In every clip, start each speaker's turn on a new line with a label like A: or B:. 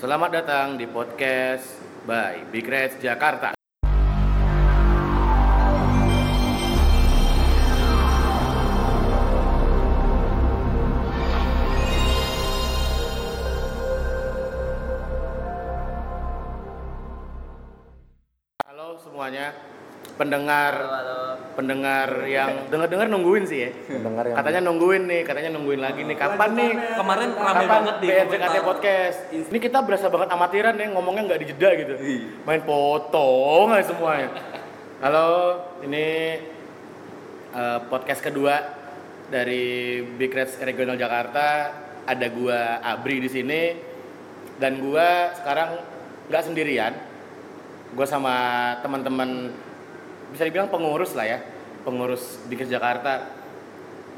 A: Selamat datang di podcast by Big Reds Jakarta. Halo semuanya, pendengar pendengar yang dengar-dengar nungguin sih ya.
B: Pendengar yang
A: Katanya nungguin nih, katanya nungguin lagi nih. Kapan nih?
C: Kemarin rame
A: Kapan
C: banget di
A: BRJKT Podcast? Ini kita berasa banget amatiran ya, ngomongnya nggak dijeda gitu. Main potong aja semuanya. Halo, ini eh, podcast kedua dari Big Reds Regional Jakarta. Ada gua Abri di sini dan gua sekarang nggak sendirian. Gua sama teman-teman bisa dibilang pengurus lah ya, pengurus Big Reds Jakarta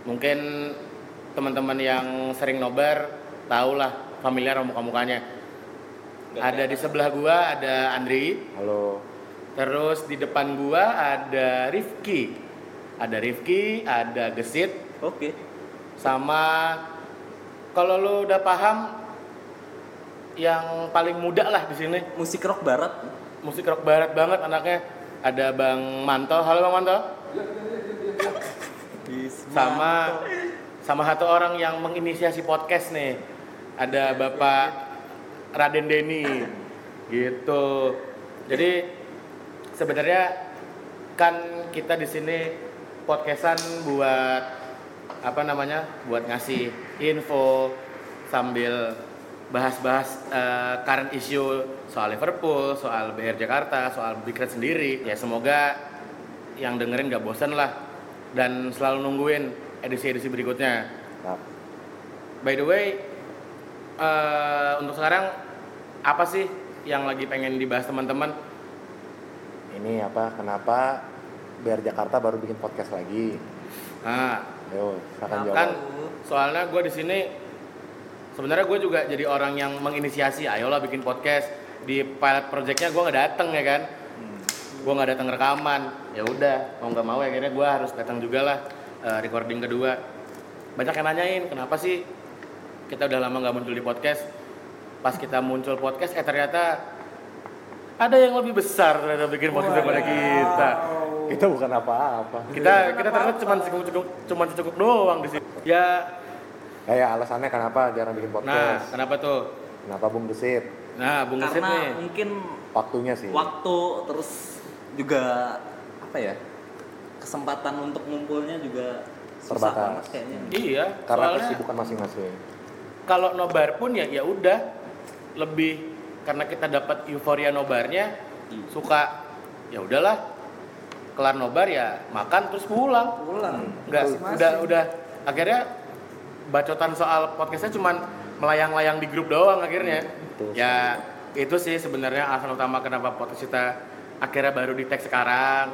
A: mungkin teman-teman yang sering nobar tahulah familiar sama muka-mukanya. Ada di sebelah gua ada Andri,
B: Halo.
A: terus di depan gua ada Rifki. Ada Rifki, ada Gesit
C: Oke.
A: sama kalau lu udah paham yang paling muda lah di sini
C: Musik rock barat.
A: musik rock barat banget anaknya ada Bang Manto halo Bang Manto sama sama satu orang yang menginisiasi podcast nih ada Bapak Raden Deni gitu jadi sebenarnya kan kita di sini podcastan buat apa namanya buat ngasih info sambil bahas-bahas eh, current issue soal Liverpool, soal BR Jakarta, soal Big Red sendiri. Ya semoga yang dengerin gak bosan lah dan selalu nungguin edisi-edisi berikutnya.
B: Nah,
A: By the way, eh, untuk sekarang apa sih yang lagi pengen dibahas teman-teman?
B: ini apa? Kenapa biar Jakarta baru bikin podcast lagi?
A: Nah,
B: Ayo, silakan
C: Kenapa?
B: jawab.
A: kan soalnya gue di sini sebenarnya gue juga jadi orang yang menginisiasi ayolah bikin podcast di pilot projectnya gue nggak datang ya kan gue nggak datang rekaman ya udah mau nggak mau akhirnya gue harus datang juga lah eh, recording kedua banyak yang nanyain kenapa sih kita udah lama nggak muncul di podcast pas kita muncul podcast eh ternyata ada yang lebih besar ternyata bikin podcast daripada kita
B: Kita bukan apa-apa.
A: kita kita ternyata cuma cukup cuma cukup doang di sini ya
B: Ya, ya, alasannya kenapa jarang bikin
A: Nah,
B: podcast?
A: kenapa tuh?
B: Kenapa Bung Gesit?
A: Nah, Bung Gesit
C: Karena
A: nih.
C: mungkin
B: Waktunya sih.
C: waktu terus juga apa ya? Kesempatan untuk ngumpulnya juga susah
B: Terbatas.
C: banget kayaknya.
A: Iya,
B: Karena
A: soalnya
B: kesibukan masing-masing.
A: kalau nobar pun ya ya udah lebih karena kita dapat euforia nobarnya
C: Iya.
A: suka ya udahlah kelar nobar ya makan terus pulang
C: Pulang.
A: nggak Hmm. udah udah akhirnya bacotan soal podcastnya cuman melayang-layang di grup doang akhirnya
B: Betul.
A: ya itu sih sebenarnya alasan utama kenapa podcast kita akhirnya baru di tag sekarang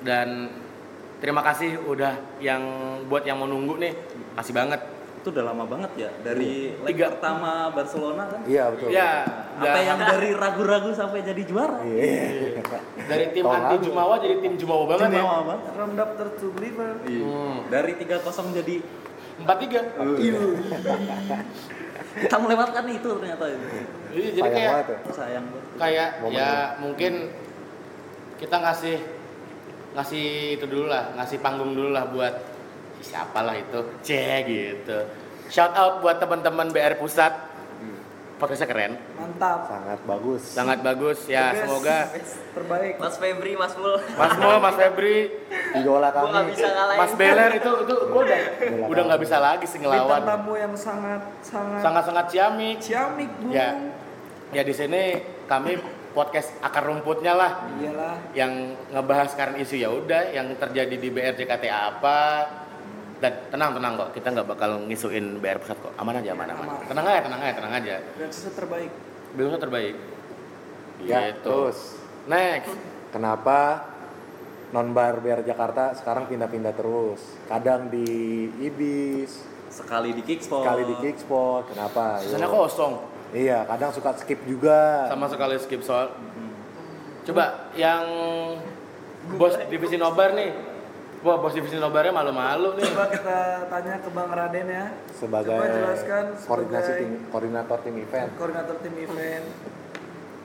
A: dan terima kasih udah yang buat yang mau nunggu nih kasih banget
C: Itu udah lama banget ya dari
A: Iya.
C: leg
A: Tiga.
C: pertama Barcelona kan.
B: Iya, betul.
A: ya
C: Apa
A: udah.
C: yang dari ragu-ragu sampai jadi juara?
B: Iya.
A: dari tim
B: Tolong
A: anti
B: aku.
A: Jumawa jadi tim Jumawa banget ya
C: Jumawa banget.
D: From Dr. to Believer.
A: Hmm.
C: Dari 3-0 jadi
A: empat tiga
B: Iya.
A: Iya,
C: kita melewatkan itu ternyata itu.
A: jadi
B: Sayang
A: kayak
B: banget ya.
C: Sayang banget.
A: kayak
B: Momen
A: ya mungkin kita ngasih ngasih itu dulu lah ngasih panggung dulu lah buat siapalah itu C gitu shout out buat teman-teman BR pusat podcastnya keren
D: Mantap.
B: Sangat bagus.
A: sangat bagus
D: The
A: ya
D: best.
A: semoga
D: Best. terbaik.
E: Mas Febri, Mas Mul,
A: Mas Mo, Mas Febri,
B: Idola
E: gua nggak
B: kami.
E: bisa ngalahin.
A: Mas Beler itu itu gue udah
B: Gila,
A: udah nggak
B: kamu.
A: bisa lagi sih
D: Bintang
A: ngelawan
D: tamu yang sangat sangat
A: sangat-sangat ciamik
D: ciamik, Bung.
A: ya ya di sini kami podcast akar rumputnya lah
D: Iyalah.
A: yang ngebahas current isu ya udah yang terjadi di BRJKT apa dan tenang tenang kok kita nggak bakal ngisuin BR pusat kok aman aja aman aman
D: Aman.
A: tenang aja tenang aja tenang aja
D: Dan sisa terbaik.
A: belum terbaik
B: Ya,
A: gitu
B: terus.
A: next
B: Kenapa non-bar biar Jakarta sekarang pindah-pindah terus? Kadang di Ibis,
C: Sekali di kickspot.
B: sekali di Kickspot. Kenapa? Ayo.
A: sisanya kosong
B: Iya, kadang suka skip juga.
A: sama sekali skip
B: Mm-hmm.
A: soal coba yang bos divisi nobar nih Wah, bos divisi nobarnya malu-malu nih.
D: Coba kita tanya ke Bang Raden ya.
B: sebagai
D: Coba jelaskan
B: koordinasi
D: sebagai
B: tim, koordinator tim event.
D: koordinator tim event.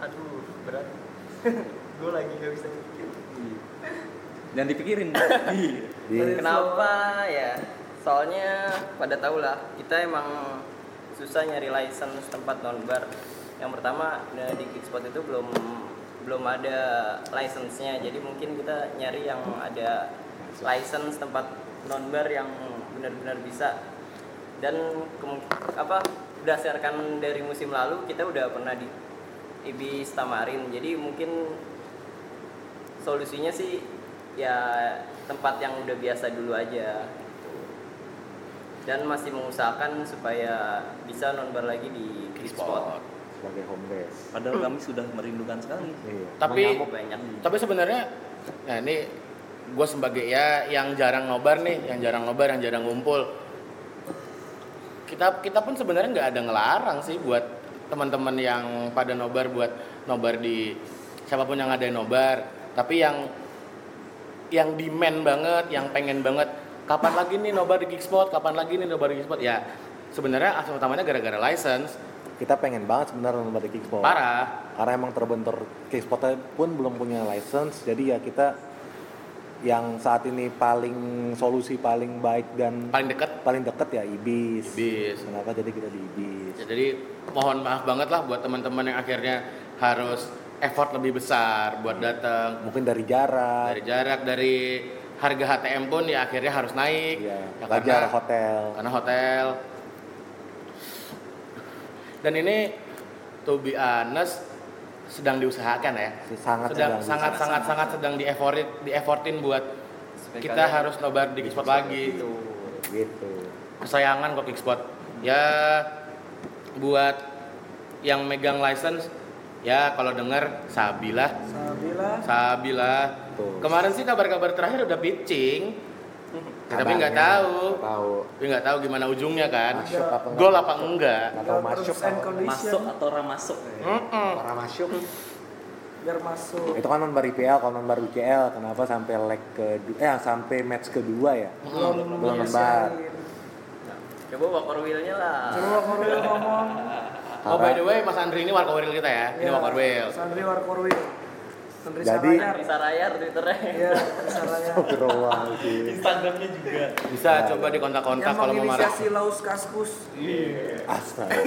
E: Aduh, berat. gue lagi gak bisa mikir.
C: Jangan dipikirin. Iya.
B: Di
D: Dari-
E: Kenapa ya? Soalnya pada tahu lah, kita emang susah nyari license tempat nonbar. Yang pertama nah, di Kickspot itu belum belum ada license-nya. Jadi mungkin kita nyari yang ada license tempat nonbar yang benar-benar bisa. Dan kemu- apa berdasarkan dari musim lalu kita udah pernah di Ibis Tamarin. Jadi mungkin solusinya sih ya tempat yang udah biasa dulu aja gitu. dan masih mengusahakan supaya bisa nonbar lagi di Kickspot
B: sebagai home base.
C: Padahal kami sudah merindukan sekali.
B: Iya.
A: Tapi
E: Mengamuk banyak
A: tapi sebenarnya nah ini gue sebagai ya yang jarang nobar nih, yang jarang nobar, yang jarang ngumpul. Kita kita pun sebenarnya nggak ada ngelarang sih buat teman-teman yang pada nobar buat nobar di siapapun yang ada nobar. Tapi yang yang demand banget, yang pengen banget kapan lagi nih nobar di Geekspot, kapan lagi nih nobar di Geekspot ya sebenarnya asal utamanya gara-gara license
B: Kita pengen banget sebenarnya nomor di kickball.
A: parah
B: Karena emang terbentur kickspotnya pun belum punya license, jadi ya kita yang saat ini paling solusi paling baik dan
A: paling deket
B: paling deket ya ibis.
A: bis
B: Kenapa jadi kita di ibis?
A: Ya, jadi mohon maaf banget lah buat teman-teman yang akhirnya harus effort lebih besar buat datang
B: Mungkin dari jarak,
A: dari jarak dari harga HTM pun ya akhirnya harus naik
B: ya,
A: Ya,
B: nggak jarak hotel.
A: karena hotel dan ini to be honest sedang diusahakan ya
B: Sangat
A: sedang sangat sangat sangat sedang di effortin di effortin buat
C: Supaya
A: kita
C: kalian-
A: harus nobar di spot lagi
B: gitu.
A: kesayangan kok Kickspot. Ya buat yang megang license ya kalau denger sabilah,
D: Sabila
A: sabilah.
B: Tuh.
A: Kemarin sih kabar-kabar terakhir udah pitching. Tapi
B: Kabarnya,
A: nggak tahu.
B: nggak Tahu.
A: Tapi nggak tahu gimana ujungnya kan.
B: Masuk apa nggak?
A: Gol apa enggak?
B: Atau masuk
D: terms and
B: apa?
D: condition
C: Masuk atau ramasuk?
A: Mm-mm.
B: Orang masuk.
D: biar masuk.
B: Itu kan non IPL, kalau non UCL, kenapa sampai leg kedua, eh sampai match kedua ya?
D: Belum
B: Belum
D: nyesain.
E: coba wakor wheelnya lah
D: Coba Korwil ngomong.
A: Oh by the way Mas Andri ini warkowil kita ya. Ini
C: Iya.
D: Ya,
A: warkowil.
D: Sandri Warkorwil. Sandri
B: Jadi-
D: Sarayar.
E: bisa rayar twitternya
D: Iya, Sarayar.
B: Gerowang sih.
C: Instagramnya juga.
B: Iya.
A: Bisa coba dikontak-kontak
D: Yang
A: kalau mau marah.
D: menginisiasi Laus Kaskus.
B: Astaga.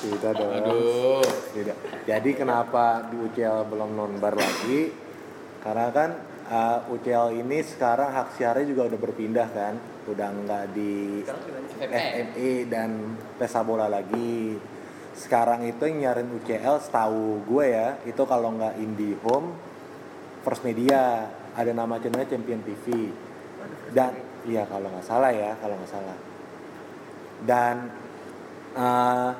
B: Tidak dong.
A: Aduh.
B: Tidak. Jadi kenapa di UCL belum nonbar lagi? Karena kan uh, UCL ini sekarang hak siarnya juga udah berpindah kan, udah nggak di FMI dan pesta bola lagi. Sekarang itu yang nyarin UCL setahu gue ya, itu kalau nggak Indie Home, First Media, ada nama channelnya Champion TV. Dan iya kalau nggak salah ya, kalau nggak salah. Dan eh,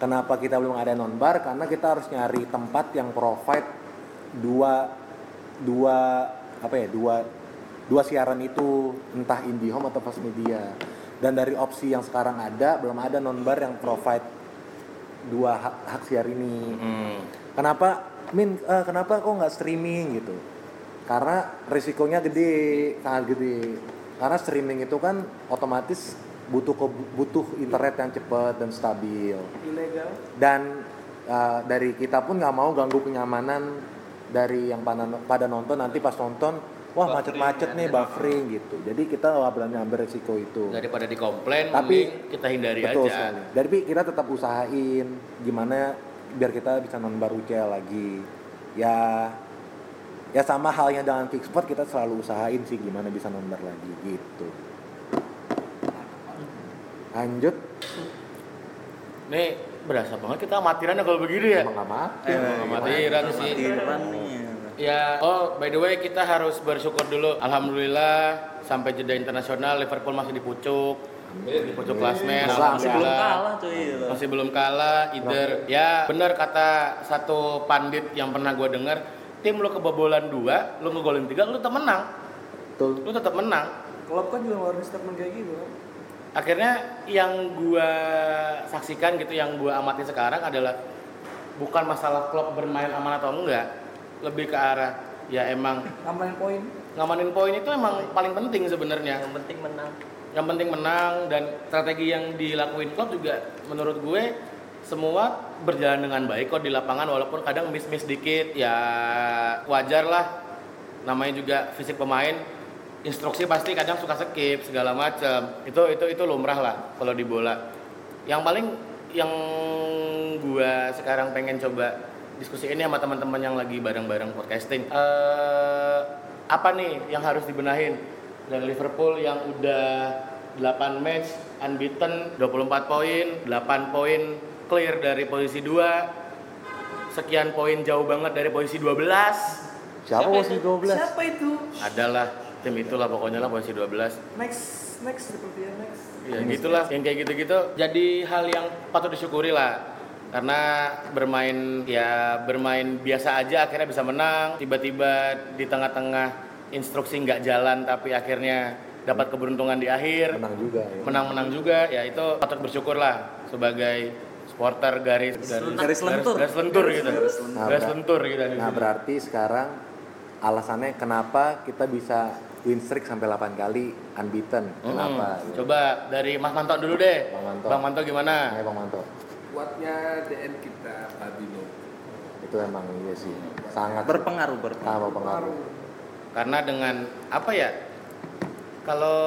B: kenapa kita belum ada nonbar? Karena kita harus nyari tempat yang provide dua dua apa ya dua dua siaran itu entah IndiHome atau First Media. Dan dari opsi yang sekarang ada belum ada nonbar yang provide dua hak, hak siar ini
A: Hmm.
B: kenapa min eh, kenapa kok nggak streaming gitu karena risikonya gede sangat gede karena streaming itu kan otomatis butuh ke- butuh internet yang cepat dan stabil
D: Ilegal.
B: dan eh, dari kita pun nggak mau ganggu kenyamanan dari yang pada, pada nonton nanti pas nonton wah macet-macet nih buffering gitu jadi kita nggak berani ambil risiko itu
A: Daripada dikomplain,
B: Tapi-
A: mending kita hindari
B: Betul
A: Iya aja.
B: sekali. Tapi kita tetap usahain gimana biar kita bisa nonbar UCL lagi. Ya ya sama halnya dengan kickspot kita selalu usahain sih gimana bisa nonbar lagi gitu. Lanjut,
A: Nih berasa banget kita amatirannya kalau begini ya.
B: emang nggak maaf.
C: Eh.
A: Emang amatiran sih.
C: Matiran nih.
A: Ya, oh by the way kita harus bersyukur dulu. Alhamdulillah sampai jeda internasional Liverpool masih di pucuk. Di pucuk klasmen.
B: Masih
C: Masih belum
A: Alhamdulillah.
C: kalah cuy.
A: Masih belum kalah either. Ya, benar kata satu pandit yang pernah gue dengar, tim lu kebobolan 2, lu ngegolin 3, lu tetap menang.
B: Betul.
A: Lu tetap menang.
D: Klub kan juga ngeluarin statement kayak gitu kan.
A: Akhirnya yang gua saksikan gitu, yang gua amati sekarang adalah bukan masalah klub bermain aman atau enggak, lebih ke arah ya emang
D: Tambahin poin.
A: ngamanin poin itu emang paling penting sebenarnya.
E: yang penting menang
A: Yang penting menang dan strategi yang dilakuin klub juga menurut gue semua berjalan dengan baik kok di lapangan walaupun kadang miss-miss dikit ya wajar lah namanya juga fisik pemain instruksi pasti kadang suka skip segala macam itu itu itu lumrah lah kalau di bola yang paling yang gua sekarang pengen coba diskusi ini sama teman-teman yang lagi bareng-bareng podcasting eh apa nih yang harus dibenahin dari Liverpool yang udah 8 match unbeaten 24 poin 8 poin clear dari posisi 2 sekian poin jauh banget dari posisi 12
B: Siapa posisi 12?
D: Siapa itu?
A: adalah tim itulah pokoknya lah posisi 12
D: Next, next sepertinya next.
A: Ya gitulah, yang kayak gitu-gitu jadi hal yang patut disyukuri lah. Karena bermain ya bermain biasa aja akhirnya bisa menang. Tiba-tiba di tengah-tengah instruksi nggak jalan tapi akhirnya dapat keberuntungan di akhir.
B: Menang juga ya.
A: Menang-menang juga ya itu patut bersyukur lah sebagai supporter garis garis
C: Garis lentur.
A: garis lentur gitu.
C: Garis lentur.
A: Garis lentur gitu.
B: Nah berarti sekarang alasannya kenapa kita bisa win streak sampai 8 kali unbeaten? Kenapa?
A: Mm-mm. Hmm. Coba dari Mas Ya. Manto dulu deh.
B: Bang Manto.
A: Bang Manto gimana?
B: Ayo Bang Manto.
F: Kuatnya DN kita Fabino.
B: Itu emang iya sih. Sangat
C: Berpengaruh, berpengaruh.
B: sama pengaruh.
A: Karena dengan apa ya? Kalau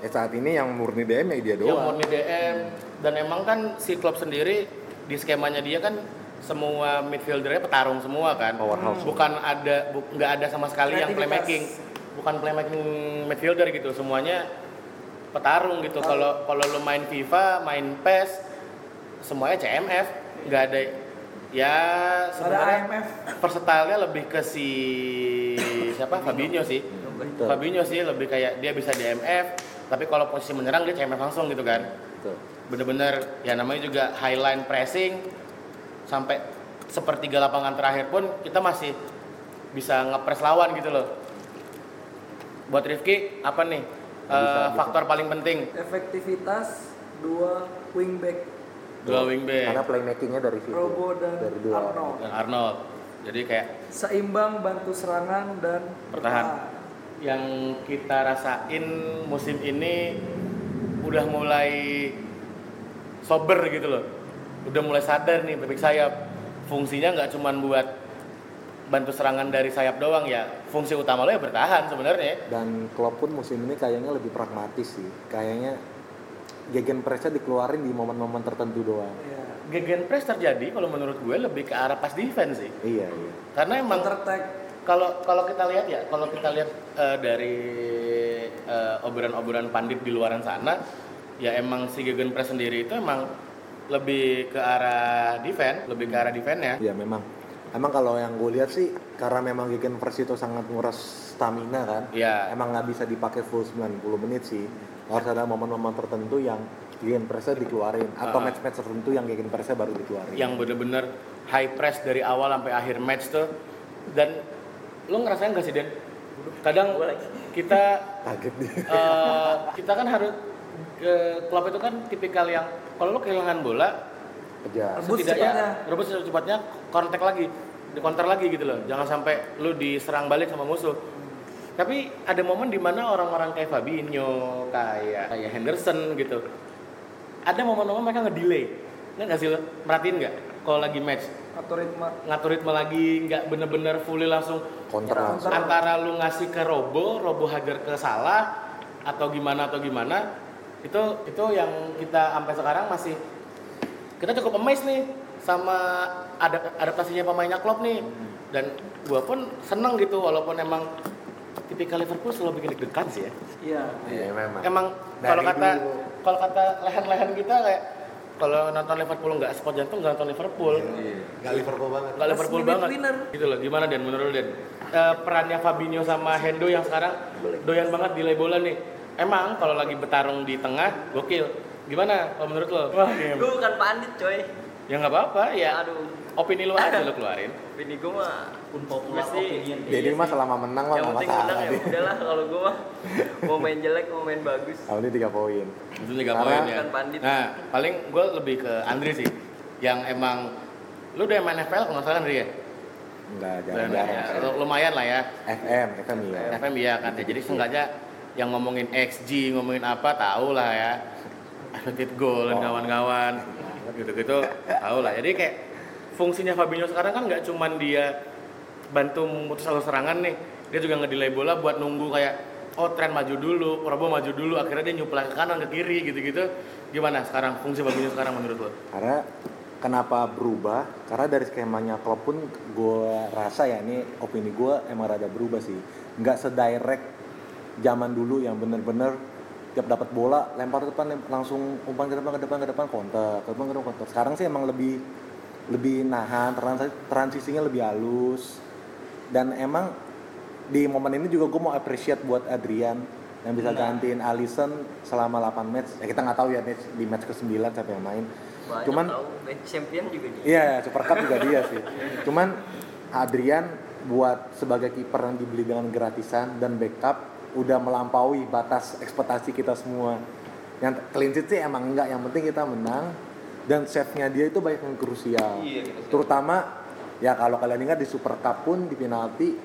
B: Eh saat ini yang murni DM ya dia
A: yang
B: doang.
A: murni DM dan emang kan si klub sendiri di skemanya dia kan semua midfieldernya petarung semua kan
B: Powerhouse.
A: bukan ada bu- nggak ada sama sekali yang playmaking
D: Kreativitas.
A: bukan playmaking midfielder gitu semuanya
D: Oh.
A: petarung gitu kalau kalau lu main FIFA main PES semuanya CMF nggak ada ya
D: Ada
A: sebenarnya
D: IMF.
A: versatile-nya lebih ke si siapa Fabinho sih
B: Betul.
A: Fabinho sih lebih kayak dia bisa DMF tapi kalau posisi menyerang dia CMF langsung gitu kan
B: Betul.
A: bener-bener ya namanya juga high line pressing sampai sepertiga lapangan terakhir pun kita masih bisa ngepres lawan gitu loh buat Rifki apa nih eh, faktor paling penting
D: Efektivitas dua wingback
A: dua wingback
B: Karena playmakingnya dari situ.
D: Robo dan
B: dari dua orang.
D: Arnold.
A: dan Eh. Arnold jadi kayak
D: Seimbang bantu serangan dan
A: Bertahan. yang kita rasain musim ini udah mulai sober gitu loh udah mulai sadar nih bebek sayap fungsinya nggak cuman buat bantu serangan dari sayap doang ya fungsi utama lo ya bertahan sebenarnya
B: Dan Klopp pun musim ini kayaknya lebih pragmatis sih. Kayaknya gegen pressnya dikeluarin di momen-momen tertentu doang.
D: Iya.
A: gegen press terjadi kalau menurut gue lebih ke arah pas defense sih
B: Iya, iya.
A: karena emang
D: Counter attack.
A: kalau kalau kita lihat ya kalau kita lihat eh, dari eh, obrolan-obrolan pandit di luaran sana ya emang si Gegen Press sendiri itu emang lebih ke arah defense lebih ke arah defense ya
B: Ya memang. Emang kalau yang gue lihat sih karena memang Gegen Press itu sangat nguras stamina kan.
A: Iya.
B: Emang nggak bisa dipakai full 90 menit sih. Harus ada momen-momen tertentu yang Gegen Pressnya dikeluarin atau
A: Ah.
B: match-match tertentu yang Gegen Pressnya baru dikeluarin.
A: yang bener-bener high press dari awal sampai akhir match tuh dan lo ngerasain gak sih Den? kadang kita
B: kaget dia.
A: eh, kita kan harus eh, klub itu kan tipikal yang kalau lo kehilangan bola
B: Kejar.
D: Rebut secepatnya.
A: setidaknya rebut secepatnya kontak lagi di counter lagi gitu loh jangan sampai lu diserang balik sama musuh tapi ada momen dimana orang-orang kayak Fabinho kayak kayak Henderson gitu ada momen-momen mereka ngedelay nggak nggak sih lo merhatiin nggak kalau lagi match
D: atau ritme
A: ngatur ritme lagi nggak bener-bener fully langsung
B: Kontra
A: Iya,
B: langsung.
A: antara lu ngasih ke Robo Robo hajar ke Salah atau gimana atau gimana itu itu yang kita sampai sekarang masih kita cukup amazed nih sama ada adaptasinya pemainnya Klopp nih dan gua pun seneng gitu walaupun emang tipikal Liverpool selalu bikin deg-degan sih ya
D: iya
B: Iya memang.
A: emang
B: Dari
A: kalau kata
B: dulu.
A: kalau kata leher-leher kita kayak kalau nonton Liverpool nggak spot jantung nggak nonton Liverpool
B: Iya. Gak Liverpool banget.
A: Gak Liverpool
D: minute
A: banget.
D: winner.
A: Gitu loh. Gimana Dan menurut lu, Dan? Eh, perannya Fabinho sama Hendo yang sekarang doyan banget di bola nih. Emang kalau lagi bertarung di tengah gokil. Gimana kalau menurut lo? Wah, iya.
E: gue bukan pandit coy
A: ya nggak apa-apa ya.
E: aduh
A: Opini lo aja lo keluarin.
E: bini gue mah
C: Unpopular
E: Mesti-
C: opinion.
B: Jadi
E: Iya
B: mah
E: sih.
B: selama menang mah
E: yang
B: nggak
E: penting menang
B: masalah.
E: ya udahlah kalau gue mah mau main jelek mau main bagus
B: Tahun ini 3 poin.
A: Itu liga
B: Karena-
A: poin ya.
E: Bukan pandit.
A: Nah, paling gue lebih ke Andre sih. Yang emang lu udah main NFL kalau nggak salah Andre ya?
B: Enggak,
A: Dan,
B: jarang-jarang.
A: ya,
B: saya.
A: lumayan lah ya.
B: FM, FM iya.
A: FM iya kan ya. Jadi seenggaknya yang ngomongin XG, ngomongin apa tahu lah ya. Atlet goal dan
B: Oh.
A: kawan-kawan gitu-gitu tahu lah. Jadi kayak fungsinya Fabinho sekarang kan nggak cuman dia bantu memutus alur serangan nih. Dia juga ngedelay bola buat nunggu kayak oh tren maju dulu, Prabowo maju dulu, akhirnya dia nyuplai ke kanan ke kiri gitu-gitu. Gimana sekarang fungsi Fabinho sekarang menurut lo?
B: Karena kenapa berubah? Karena dari skemanya klub pun gue rasa ya ini opini gue emang rada berubah sih. Nggak sedirect zaman dulu yang bener-bener tiap dapat bola lempar ke depan lem- langsung umpan ke depan ke depan ke depan konter ke depan ke depan konter. Sekarang sih emang lebih lebih nahan trans- transisinya lebih halus dan emang di momen ini juga gue mau appreciate buat Adrian yang bisa gantiin Alisson selama 8 match. Ya kita nggak tahu ya match- di match ke-9 siapa yang main.
E: Banyak
B: Cuman
E: tahu Ben champion juga gitu. dia.
B: Iya, Super Cup juga dia sih. Cuman Adrian buat sebagai kiper yang dibeli dengan gratisan dan backup udah melampaui batas ekspektasi kita semua. Yang clean sheet sih emang enggak, yang penting kita menang dan save-nya dia itu banyak yang krusial.
A: Iya,
B: Terutama ya kalau kalian ingat di Super Cup pun di penalti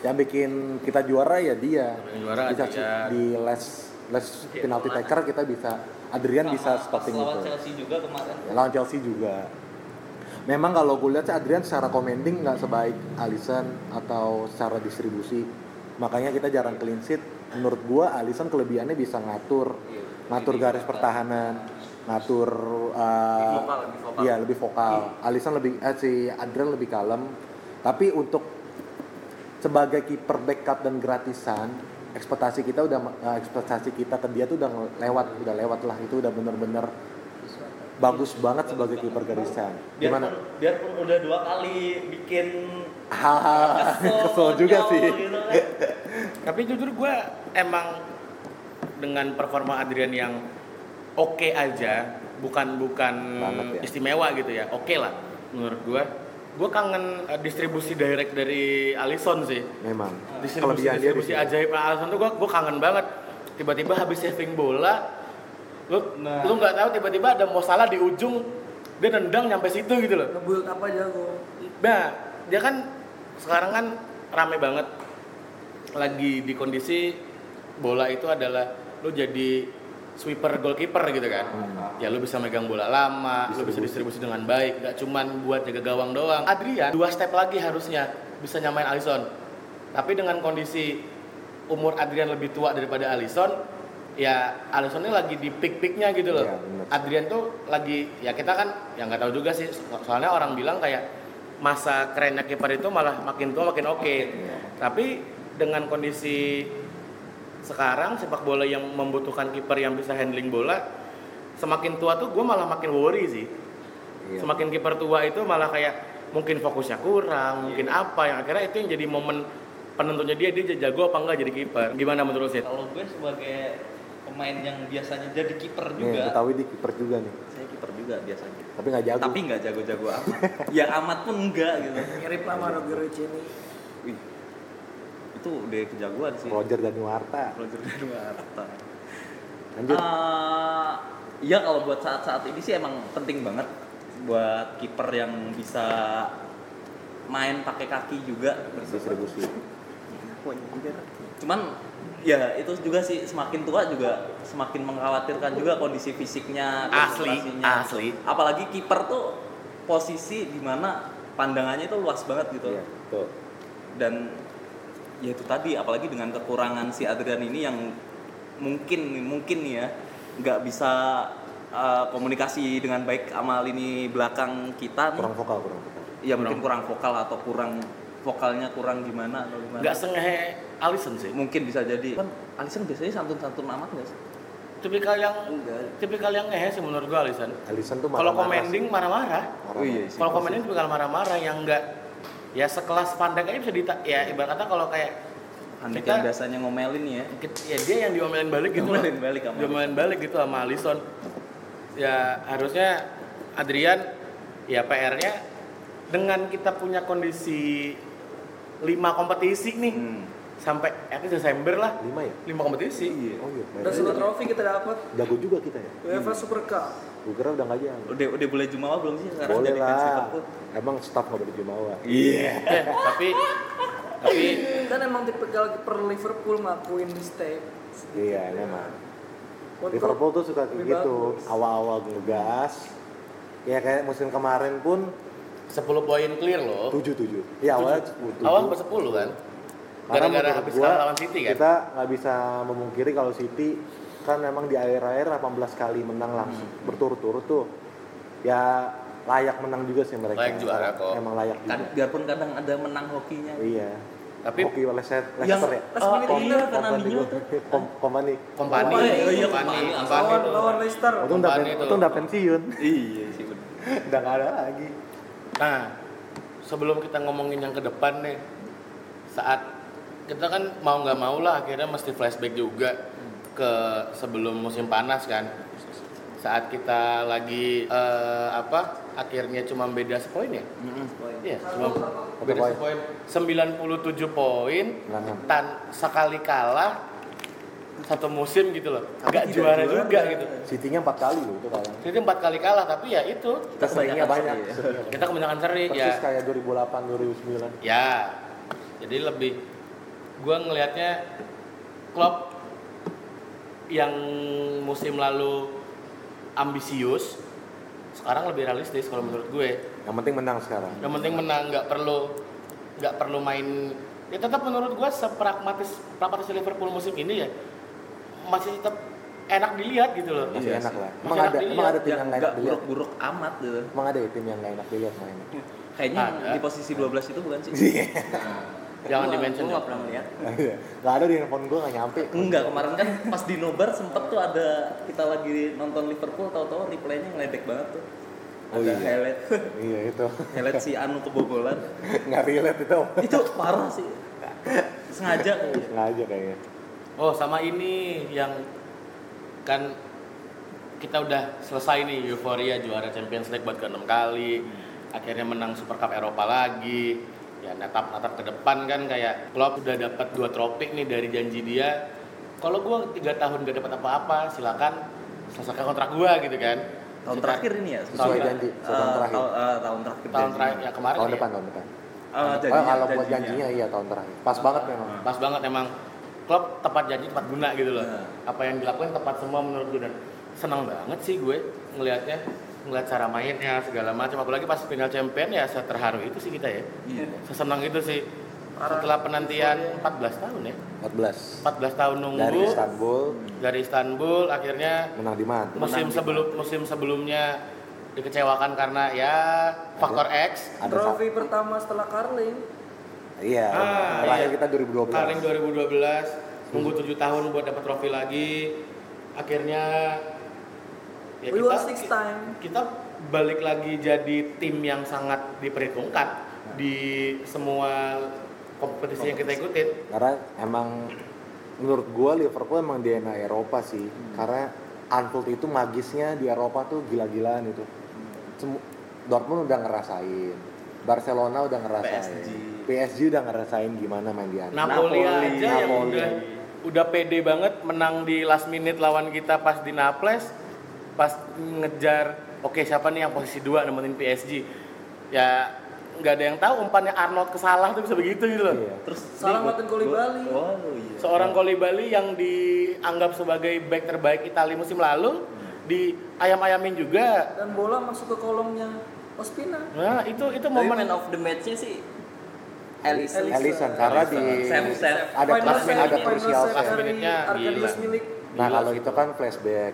B: yang bikin kita juara ya dia.
A: bikin juara
B: bisa
A: Adrian. Iya,
B: di les les penalti taker kita bisa Adrian bisa stopping
C: lawan
B: itu
C: Chelsea juga kemarin
B: ya, lawan Chelsea juga memang kalau gue lihat sih Adrian secara commanding nggak sebaik Alisson atau secara distribusi makanya kita jarang clean sheet menurut gue Alisson kelebihannya bisa ngatur ngatur garis pertahanan ngatur uh,
E: Lebih vokal, lebih vokal.
B: iya lebih vokal Alisson lebih eh, si Adrian lebih kalem tapi untuk sebagai kiper backup dan gratisan ekspektasi kita udah eh, ekspektasi kita ke dia tuh udah lewat udah lewat lah itu udah bener-bener bagus banget sebagai kiper garisan
C: biarpun,
B: gimana
C: biarpun udah dua kali bikin
B: hahaha kesel juga
C: kacau
B: sih
C: gitu kan.
A: Tapi jujur gue emang dengan performa Adrian yang oke aja, bukan bukan
B: Banget ya.
A: istimewa gitu ya, oke lah menurut gue. Gue kangen eh, distribusi direct dari Alisson sih.
B: memang
A: Distribusi,
B: kelebihan Ah, dia di
A: distribusi
B: situ.
A: ajaib Nah, Alisson tuh gue kangen banget. Tiba-tiba habis saving bola, lu
C: Nah.
A: lu nggak tahu tiba-tiba ada Mo Salah di ujung dia nendang nyampe situ gitu loh.
D: ngebuild apa jago
A: Nah, dia kan sekarang kan rame banget lagi di kondisi bola itu adalah lu jadi sweeper goalkeeper gitu kan.
B: Hmm.
A: Ya lu bisa megang bola lama, lu bisa distribusi dengan baik, gak cuman buat jaga gawang doang. Adrian dua step lagi harusnya bisa nyamain Alisson. Tapi dengan kondisi umur Adrian lebih tua daripada Alisson, ya Alisson ini lagi di peak-peaknya gitu loh.
B: Iya, bener.
A: Adrian tuh lagi ya kita kan ya nggak tahu juga sih so- soalnya orang bilang kayak masa kerennya kiper itu malah makin tua makin oke.
B: Iya,
A: Tapi dengan kondisi sekarang sepak bola yang membutuhkan kiper yang bisa handling bola semakin tua tuh gue malah makin worry sih.
B: Iya.
A: Semakin kiper tua itu malah kayak mungkin fokusnya
B: Iya.
A: kurang, mungkin apa yang akhirnya itu yang jadi momen penentunya dia dia jago apa enggak jadi kiper. Gimana menurut lu, Sid?
C: kalau gue sebagai pemain yang biasanya jadi kiper
B: Nih,
C: juga
B: ketahui di kiper juga nih
C: saya kiper juga biasanya
B: tapi nggak jago
C: tapi nggak jago-jago amat ya amat pun enggak gitu
D: mirip lah Mario ini
C: Wih, itu udah kejagoan sih
B: Roger dan Nuarta
C: Roger Danuarta
B: lanjut
C: Eh, ya kalau buat saat-saat ini sih emang penting banget buat kiper yang bisa main pakai kaki juga
B: distribusi
C: cuman ya itu juga sih semakin tua juga semakin mengkhawatirkan juga kondisi fisiknya
A: Asli,
C: konsentrasinya.
A: asli.
C: apalagi kiper tuh posisi dimana pandangannya itu luas banget gitu
B: Iya, tuh
C: dan ya itu tadi apalagi dengan kekurangan si Adrian ini yang mungkin mungkin nih ya nggak bisa uh, komunikasi dengan baik sama lini belakang kita nih.
B: kurang vokal kurang vokal
C: ya mungkin kurang vokal atau kurang vokalnya kurang gimana atau gimana
A: Nggak sengehe Alisson sih.
C: mungkin bisa jadi kan Alisson biasanya santun-santun amat nggak sih
A: Tipikal yang tipikal yang ngehe sih menurut gue Alisson.
B: Alisson tuh
A: Kalau
B: marah-marah
A: commanding
B: sih.
A: marah-marah.
B: Marah-marah.
C: Oh iya sih.
A: Kalau commanding tipikal marah-marah yang enggak ya sekelas pandai aja bisa dita ya ibarat kata kalau kayak
C: Handek
A: Kita-
C: yang Kan biasanya ngomelin ya
A: ya dia yang diomelin balik gitu loh.
C: Ngomelin balik sama
A: Diomelin balik gitu sama Alisson. Ya harusnya Adrian ya PR-nya dengan kita punya kondisi lima kompetisi nih
C: Hmm.
A: sampai at least Desember lah
B: lima ya
A: lima kompetisi
B: oh iya
D: udah
B: baik.
D: semua trofi kita dapat
B: jago juga kita ya
D: UEFA Super Cup
B: Gue kira udah nggak jalan.
C: Oh, Udah udah boleh jumawa belum sih sekarang
B: Boleh
C: jadi fans
B: lah.
C: Liverpool?
B: Emang staff nggak boleh jumawa.
C: Iya.
A: Eh, tapi tapi
D: Kan emang tipikal kiper Liverpool ngakuin mistake.
B: Iya, memang.
D: Untuk-
B: Liverpool tuh suka kayak
D: lebih
B: gitu.
D: bagus.
B: Awal-awal ngegas. Ya kayak musim kemarin pun
A: 10 poin clear loh.
B: 7-7. Ya awalnya 10-7.
A: Oh. Awal sampai 10 kan.
B: Karena
A: Gara-gara
B: menurut
A: habis
B: gua,
A: kalah lawan City kan.
B: Kita nggak bisa memungkiri kalau City kan memang di akhir-akhir 18 kali menang
A: Hmm.
B: langsung berturut-turut tuh. Ya layak menang juga sih mereka.
A: Layak juara kok.
B: Emang layak juga.
C: Kan biarpun kadang ada menang hokinya.
B: iya.
A: Tapi-
B: hoki Leicester
C: Yang
B: Leicester ya.
C: last minute
B: Kom-
C: winner karena
B: Kompany
C: Mino
B: gua. Kom- Kompany.
A: Kompani,
C: Oh, iya, iya,
A: kompani,
C: Kompany.
A: kompani.
D: Lawan lawan Leicester.
B: Itu udah
A: Kompany
B: pen-
A: tuh.
B: itu udah pensiun.
C: Iya sih bener.
B: udah nggak ada lagi.
A: Nah, sebelum kita ngomongin yang ke depan nih, saat kita kan mau nggak mau lah akhirnya mesti flashback juga ke sebelum musim panas kan. Saat kita lagi eh, apa? Akhirnya cuma beda sepoin ya? Iya, cuma beda
B: Satu
A: sepoin. 97 poin
B: Nah, nah.
A: tan sekali kalah satu musim gitu loh.
C: Tapi
A: Gak
C: tidak
A: juara
C: juara.
A: juga gitu.
B: City-nya 4 kali loh itu kalah.
A: Jadi empat kali kalah tapi ya itu
C: Kita
B: Seringnya banyak.
C: sih, ya.
A: kita kebanyakan seri ya.
B: Persis kayak 2008 2009.
A: Ya, jadi lebih gue ngelihatnya klub yang musim lalu ambisius sekarang lebih realistis kalau menurut gue.
B: Yang penting menang sekarang.
A: Yang penting menang, nggak perlu nggak perlu main. Ya tetap menurut gue sepragmatis pragmatis Liverpool musim ini ya masih tetap enak dilihat gitu loh.
B: Masih
C: Iya
B: enak
C: sih.
B: lah.
A: Masih
B: Emang
A: enak
B: ada
A: dilihat.
B: emang ada tim
C: Yang
B: yang nggak
C: nggak
B: enak dilihat.
C: buruk-buruk amat tuh.
B: Emang ada ya tim yang nggak enak dilihat mainnya.
C: Kayaknya yang
A: Ada.
C: di posisi 12 itu bukan sih?
B: Iya.
A: Jangan
C: Gua-
A: dimention
C: Gua
A: ya.
C: nggak pernah melihat.
B: Gak ada di handphone gue nggak nyampe.
C: Enggak, kemarin kan pas di nobar sempet tuh ada kita lagi nonton Liverpool tahu-tahu replaynya ngeledek banget tuh. Ada
B: Oh iya.
C: highlight
B: Iya itu
C: highlight si Anu kebobolan.
B: nggak relate itu.
C: Itu parah sih. Sengaja kayaknya.
B: Sengaja kayaknya.
A: Oh sama ini yang kan kita udah selesai nih euforia juara Champions League buat keenam kali,
C: Hmm.
A: akhirnya menang Super Cup Eropa lagi. Ya natap natap ke depan kan kayak Klopp udah dapat dua tropik nih dari janji dia. Kalau gua tiga tahun gak dapat apa-apa, silakan selesaikan kontrak gua gitu kan.
C: Tahun
A: Silakan.
C: terakhir ini ya?
A: Sesuai
B: janji,
C: eh,
B: tahun terakhir.
C: tahun- eh, tahun terakhir. Eh,
A: tahun
C: janjinya.
A: terakhir ya kemarin.
B: Tahun
A: ya.
B: depan tahun depan.
C: Eh,
B: Oh,
C: janjinya,
B: kalau buat janjinya iya tahun terakhir. Pas banget memang.
A: Pas banget emang Klopp tepat janji tepat guna gitu loh.
B: Iya.
C: Nah.
A: Apa yang dilakukan tepat semua menurut gue dan senang banget sih gue ngelihatnya ngelihat cara mainnya segala macam apalagi pas final champion ya saya terharu itu sih kita ya
C: Iya.
A: sesenang itu sih setelah penantian 14 tahun ya
B: 14
A: 14 tahun nunggu
B: dari Istanbul
A: dari Istanbul akhirnya
B: menang gitu. di Madrid.
A: musim sebelum musim sebelumnya dikecewakan karena ya faktor X
B: Ada
D: Trofi pertama setelah Carling.
B: sa- Iya.
A: Ah,
B: terakhir
A: iya.
B: kita 2012.
A: Karing 2012 nunggu 7 tahun buat dapat trofi lagi akhirnya ya
D: We
A: kita
D: won six time.
A: kita balik lagi jadi tim yang sangat diperhitungkan di semua kompetisi yang kita ikutin
B: Karena emang menurut gua Liverpool emang DNA Eropa sih. Karena Anfield itu magisnya di Eropa tuh gila-gilaan itu. Semu- Dortmund udah ngerasain, Barcelona udah ngerasain,
C: PSG.
B: PSG udah ngerasain gimana main di Anfield.
A: Napoli,
C: Napoli,
A: aja yang
B: Napoli.
A: udah udah pede banget menang di last minute lawan kita pas di Naples pas ngejar oke siapa nih yang posisi dua nemenin PSG ya nggak ada yang tahu umpannya Arnold kesalah tuh bisa begitu gitu loh
B: Iya.
C: Terus
D: Salah
C: nih, gua-
D: Martin Goli
C: gua-
D: Bali.
C: Oh iya.
A: Seorang Koli Bali yang dianggap sebagai back terbaik Italia musim lalu di ayam-ayamin juga.
D: Dan bola masuk ke kolongnya Ospina.
A: Nah, itu itu
E: Tapi
A: momen
E: man of the match-nya sih Alisson.
B: Alisson karena di
C: Sam, Sam.
B: ada
D: Final
B: plus
D: save,
B: ada
D: final save
B: crucial
A: Last
B: save.
D: dari
A: minute-nya,
D: Arkadius
A: gila.
D: Milik.
B: Nah
A: Gila
B: kalau
A: sih.
B: itu kan flashback.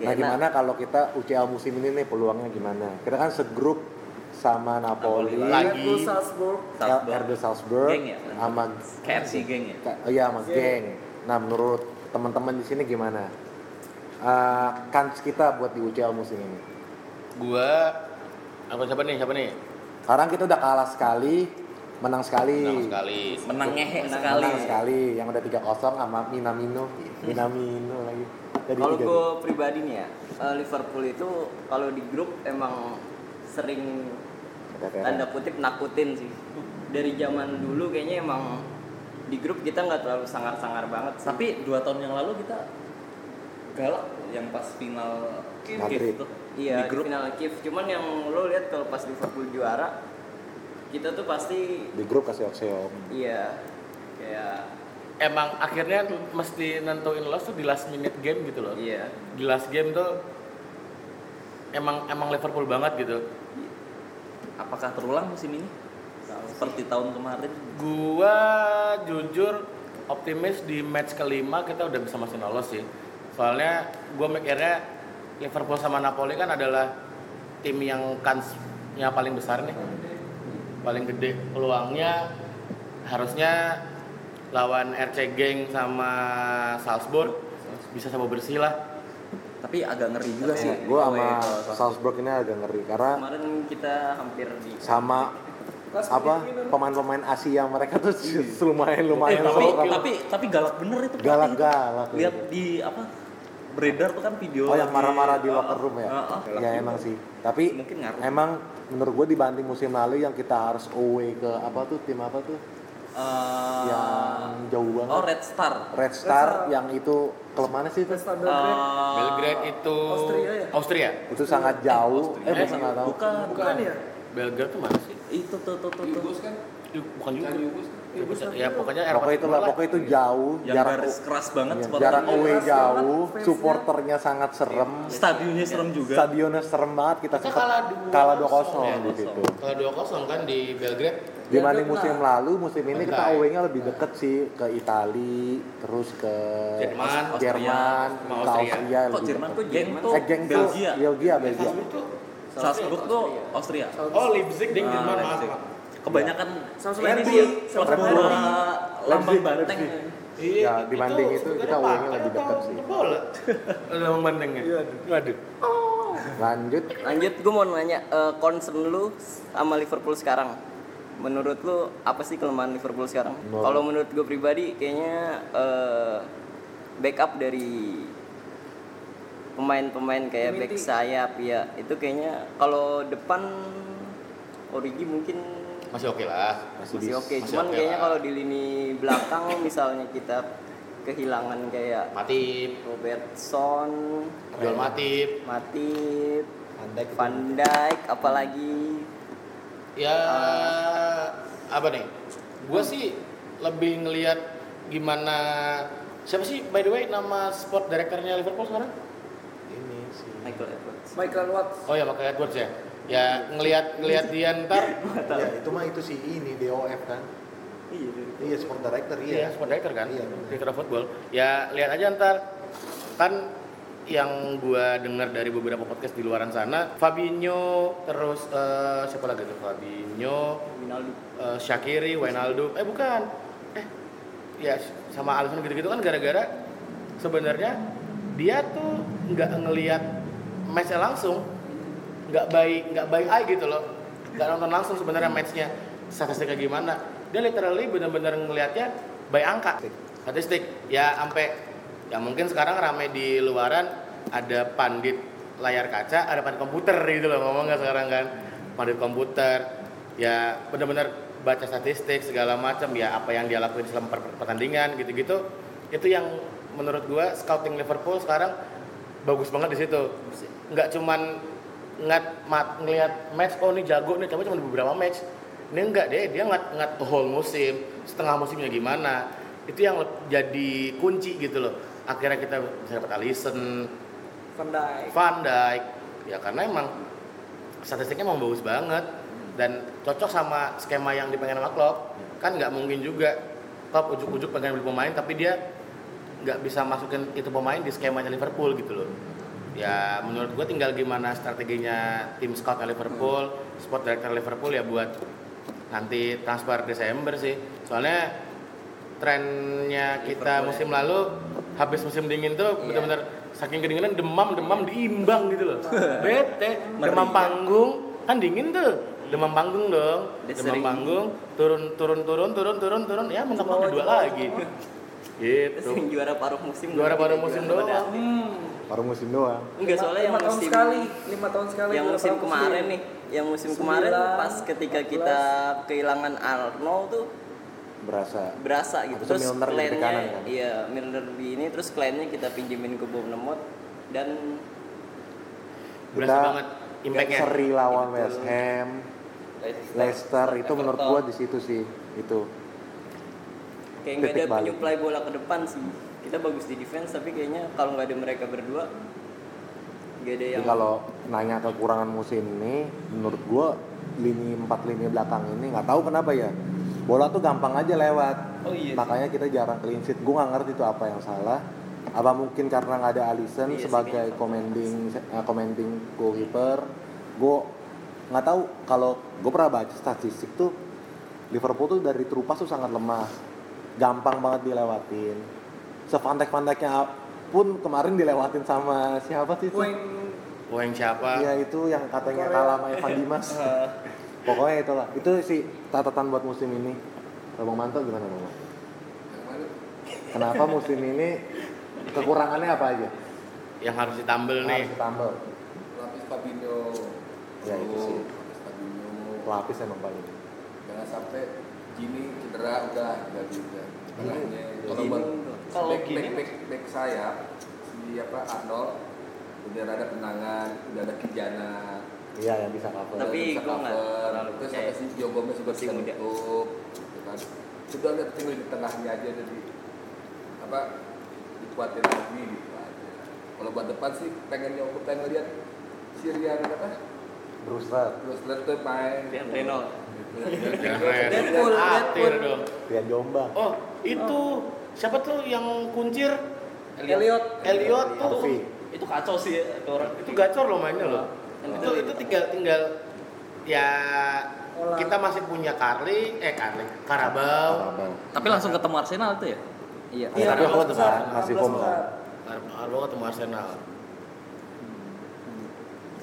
B: Nah
E: Oke,
B: gimana kalau kita UCL musim ini nih peluangnya gimana? Kita kan segrup sama Napoli,
A: Lagi.
D: Red Bull Salzburg.
B: Salzburg. RB Salzburg,
C: Geng ya?
B: sama
C: KFC geng ya.
B: Ka- oh iya sama geng. Nah menurut teman-teman di sini gimana? Eh kans kita buat di UCL musim ini.
A: gua apa siapa nih? Siapa nih?
B: Sekarang kita udah kalah sekali, menang sekali.
A: Menang sekali.
C: Menang ngehek sekali.
B: Menang sekali. Yang udah 3-0 sama Minamino. Minamino lagi. Jadi
E: Kalau
B: 3-2.
E: gue pribadi nih ya, eh, Liverpool itu kalau di grup emang sering
B: Kata-kata.
E: tanda kutip nakutin sih. Dari zaman dulu kayaknya emang di grup kita nggak terlalu sangar-sangar banget. sih.
C: Tapi dua tahun yang lalu kita galak yang pas final
B: Madrid.
C: itu. Di
E: Iya, di,
C: grup.
E: final Kiev. Cuman yang lo lihat kalau pas Liverpool juara, kita tuh pasti
B: di grup kasih oksiom
E: iya kayak
A: Emang akhirnya mesti nentuin loss tuh di last minute game gitu loh.
E: iya.
A: Di last game tuh emang emang Liverpool banget gitu.
C: Apakah terulang musim ini? Seperti tahun kemarin.
A: Gua jujur optimis di match kelima kita udah bisa masih lolos sih. Soalnya gua mikirnya Liverpool sama Napoli kan adalah tim yang kansnya paling besar nih. Paling gede peluangnya harusnya lawan RC Geng sama Salzburg bisa sama bersih lah.
C: Tapi agak ngeri juga
E: Iya,
C: sih.
B: gue Iya, sama
C: Oleh-
B: Salzburg ini agak ngeri karena
E: Kemarin kita hampir di
B: sama apa pemain-pemain Asia mereka tuh lumayan
C: Eh,
B: lumayan
C: tapi, tapi tapi galak bener itu pelatih itu.
B: Galak-galak.
C: Lihat di apa? Beredar tuh kan video
B: Oh yang
C: lagi-
B: marah-marah di
C: Ah,
B: locker room ya?
C: ah, ah.
B: ya emang sih. Tapi
C: Mungkin ngaruh.
B: emang menurut gue dibanding musim lalu yang kita harus away ke apa tuh tim apa tuh
C: Eh,
B: Ya. yang jauh banget.
C: Oh Red Star.
B: Red Star yang itu klub mana sih itu?
D: Pesta Belgrade
C: Eh,
A: Belgrade itu
D: Ah, Austria ya?
A: Austria.
B: Itu sangat jauh. Eh,
C: eh,
B: gue nggak tahu.
C: bukan,
D: bukan ya?
A: Belgrade tuh mana sih?
C: Itu tuh tuh tuh. tuh.
F: Yugos kan?
A: Ih, Bukan juga.
F: Bukan Yugos kan?
A: Ya pokoknya
B: Pokoknya
A: Eropa
B: itulah,
A: Timur lah.
B: pokoknya itu jauh,
C: Yang
B: jarak
C: garis keras banget
B: iya,
C: seperti
B: jarak
D: itu.
B: away
D: Keras
B: jauh,
D: banget face-nya.
B: supporternya sangat serem,
C: Stadionnya
B: Iya.
C: serem juga. Iya,
B: stadionnya serem banget, kita
A: Kita
B: sempat
A: kalah dua
B: kalah gitu. 2-0
A: kosong ya.
B: begitu.
A: Kalau 2-0 kan di Belgrade
B: Dibanding musim lalu, musim ini kita
A: Bentar.
B: away-nya lebih deket sih ke Itali, terus ke
A: Jerman,
B: Jerman,
A: sama
B: ke
A: Austria.
B: Austria
C: Kok
B: lebih
C: Jerman
B: deket.
C: tuh geng tuh
B: Eh, geng tuh
C: Belgia.
B: Belgia,
A: Iya,
B: Belgia.
C: Salzburg tuh Austria.
A: Oh Leipzig di
C: Ah,
A: Jerman maaf.
C: Leipzig.
A: maaf.
C: Kebanyakan
D: Samsung
C: ini
D: Leipzig.
C: sih
D: Samsung
C: klub bola lambang
B: Leipzig,
C: banteng.
B: Leipzig.
A: Iya,
B: Ya, dibanding itu
A: sebenarnya
B: kita awalnya
A: partai
B: lebih dekat
A: atau
B: sih.
A: Bola. Lambang bantengnya. Iya. Waduh.
B: Lanjut,
E: Lanjut, gue mau nanya eh, concern lu sama Liverpool sekarang. Menurut lu apa sih kelemahan Liverpool sekarang?
B: No.
E: Kalau menurut gue pribadi, kayaknya eh, backup dari pemain-pemain kayak back sayap ya itu kayaknya kalau depan Origi mungkin
A: Masih oke lah.
B: masih
E: masih oke,
A: Masih
E: cuman
A: oke
E: kayaknya
A: lah.
E: kalau di lini belakang misalnya kita kehilangan kayak
A: Mati,
E: Robertson,
A: jual mati.
E: Matip,
B: Andai
E: Van Dijk apalagi
A: Ya
B: Ah.
A: apa nih? Gua sih lebih ngelihat gimana siapa sih by the way nama sport directornya Liverpool sekarang?
B: ini sih.
E: Michael Edwards.
D: Michael Watts
A: Oh ya Michael Edwards ya. Ya ngelihat ngelihat dia ntar
B: Ya, itu mah itu sih ini DOF kan. Iya, sport director
A: Iya, sport director kan,
B: Iya,
A: iya,
B: benar.
A: director of football. Ya lihat aja ntar kan yang gua dengar dari beberapa podcast di luaran sana, Fabinho terus eh, siapa lagi tuh Fabinho,
E: Wijnaldum.
A: eh, Shakiri, Wijnaldum. Eh bukan. Eh ya sama Alisson gitu-gitu kan gara-gara sebenarnya dia tuh nggak ngelihat matchnya langsung nggak baik nggak baik eye gitu loh nggak nonton langsung sebenarnya matchnya statistiknya gimana dia literally benar-benar ngelihatnya by angka statistik ya sampai ya mungkin sekarang rame di luaran ada pandit layar kaca ada pandit komputer gitu loh ngomongnya sekarang kan pandit komputer ya benar-benar baca statistik segala macam ya apa yang dia lakuin selama per- pertandingan gitu-gitu itu yang menurut gua scouting Liverpool sekarang bagus banget di situ nggak cuman ngat mat ngelihat match oh ini jago nih tapi cuma di beberapa match ini enggak deh dia ngat ngat whole musim setengah musimnya gimana itu yang le- jadi kunci gitu loh akhirnya kita bisa dapat Alisson
D: Van Dijk
A: Van Dijk ya karena emang statistiknya emang bagus banget dan cocok sama skema yang dipengen sama Klopp kan nggak mungkin juga Klopp ujuk-ujuk pengen beli pemain tapi dia nggak bisa masukin itu pemain di skemanya Liverpool gitu loh ya menurut gue tinggal gimana strateginya tim scout Liverpool sport director Liverpool ya buat nanti transfer Desember sih soalnya trennya kita musim lalu habis musim dingin tuh benar-benar saking kedinginan demam demam diimbang gitu loh bete demam
C: Ngeri.
A: panggung kan dingin tuh demam panggung dong
E: Udah
A: demam
E: sering.
A: panggung turun turun turun turun turun turun ya mentok ada dua lagi
E: Terus
A: gitu
E: yang juara paruh musim.
A: juara pada musim
E: Juara
A: doang
E: pada-
D: Hmm.
B: Baru musim doang.
E: Enggak soalnya yang
D: lima tahun
E: musim
D: sekali lima tahun sekali
E: yang
D: dua
E: musim
D: tahun
E: kemarin nih, yang musim
D: Sembilan,
E: kemarin pas ketika kita kehilangan Arnold tuh
B: Berasa.
E: berasa gitu.
B: Habis itu
E: Terus
B: Milner di
E: kliennya,
B: kanan kan?
E: iya Milner di ini terus kliennya kita pinjemin ke Bournemouth dan
A: Berasa banget impact-nya.
B: Seri lawan West Ham, Leicester itu menurut
E: Everton.
B: gua di situ sih itu.
E: kayak nggak ada
B: titik balik.
E: penyuplai bola ke depan sih kita bagus di defense tapi kayaknya kalau nggak ada mereka berdua nggak ada yang
B: Jadi kalau nanya kekurangan musim ini, menurut gua lini empat lini belakang ini nggak tahu kenapa ya. Bola tuh gampang aja lewat.
E: Oh iya sih.
B: Makanya kita jarang clean sheet. Gua nggak ngerti tuh apa yang salah. Apa mungkin karena nggak ada Alisson
E: Iya sih,
B: sebagai
E: kayaknya.
B: commanding eh, commanding goalkeeper. Gua nggak tahu kalau gue pernah baca statistik tuh Liverpool tuh dari true pass tuh sangat lemah. Gampang banget dilewatin. Sepantek-panteknya pun kemarin dilewatin sama siapa sih? tuh?
D: Wayne
A: Wah yang siapa?
B: Iya itu yang katanya
D: Korea.
B: kalah sama Evan Dimas. Pokoknya itulah. Itu sih catatan buat musim ini. Kalau Bang Manto gimana Bang? Manto?
F: Yang mana?
B: Kenapa musim ini kekurangannya apa aja?
A: Yang harus ditambel nih.
B: Harus ditambal.
F: Lapis Fabinho.
B: Ya, itu sih.
F: Lapis Fabinho.
B: Pelapis emang paling.
F: Jangan sampai gini cedera udah udah juga.
B: Iya.
F: Makanya kalau
E: Gini
F: buat
E: udah. Kalau
F: back,
E: gini
F: back, back, back sayap si apa Arnold udah ada tendangan, udah ada Kijana.
B: Iya yang bisa cover.
F: udah
E: Tapi
F: bisa
E: gua nggak
F: cover.
E: terlalu
F: terus
E: percaya.
F: sampai si Gio Gomez juga
E: Masih
F: bisa
E: muda.
F: nutup, gitu kan. Sudah lihat tinggal di tengahnya aja jadi apa dikuatin lagi gitu aja. Kalau buat depan sih pengen nyoba pengen lihat Sirian apa
B: Brewster,
F: terus tuh main gitu.
E: Rian Reynolds
A: Deadpool,
F: Ah,
D: Deadpool.
A: dong.
B: Rian Jombang.
A: Oh, itu siapa tuh yang kuncir?
D: Elliot.
A: Elliot tuh.
B: Harvey.
E: itu kacau sih itu orang
A: Itu gacor loh mainnya loh.
E: Dan
A: Itu itu tinggal tinggal ya
D: Olah.
A: kita masih punya Carly, eh Carly, Karabau,
B: Arabang.
C: Tapi langsung ketemu Arsenal itu ya?
E: iya
B: Iya, tapi home kan, masih home kan.
A: Karabau ketemu Arsenal.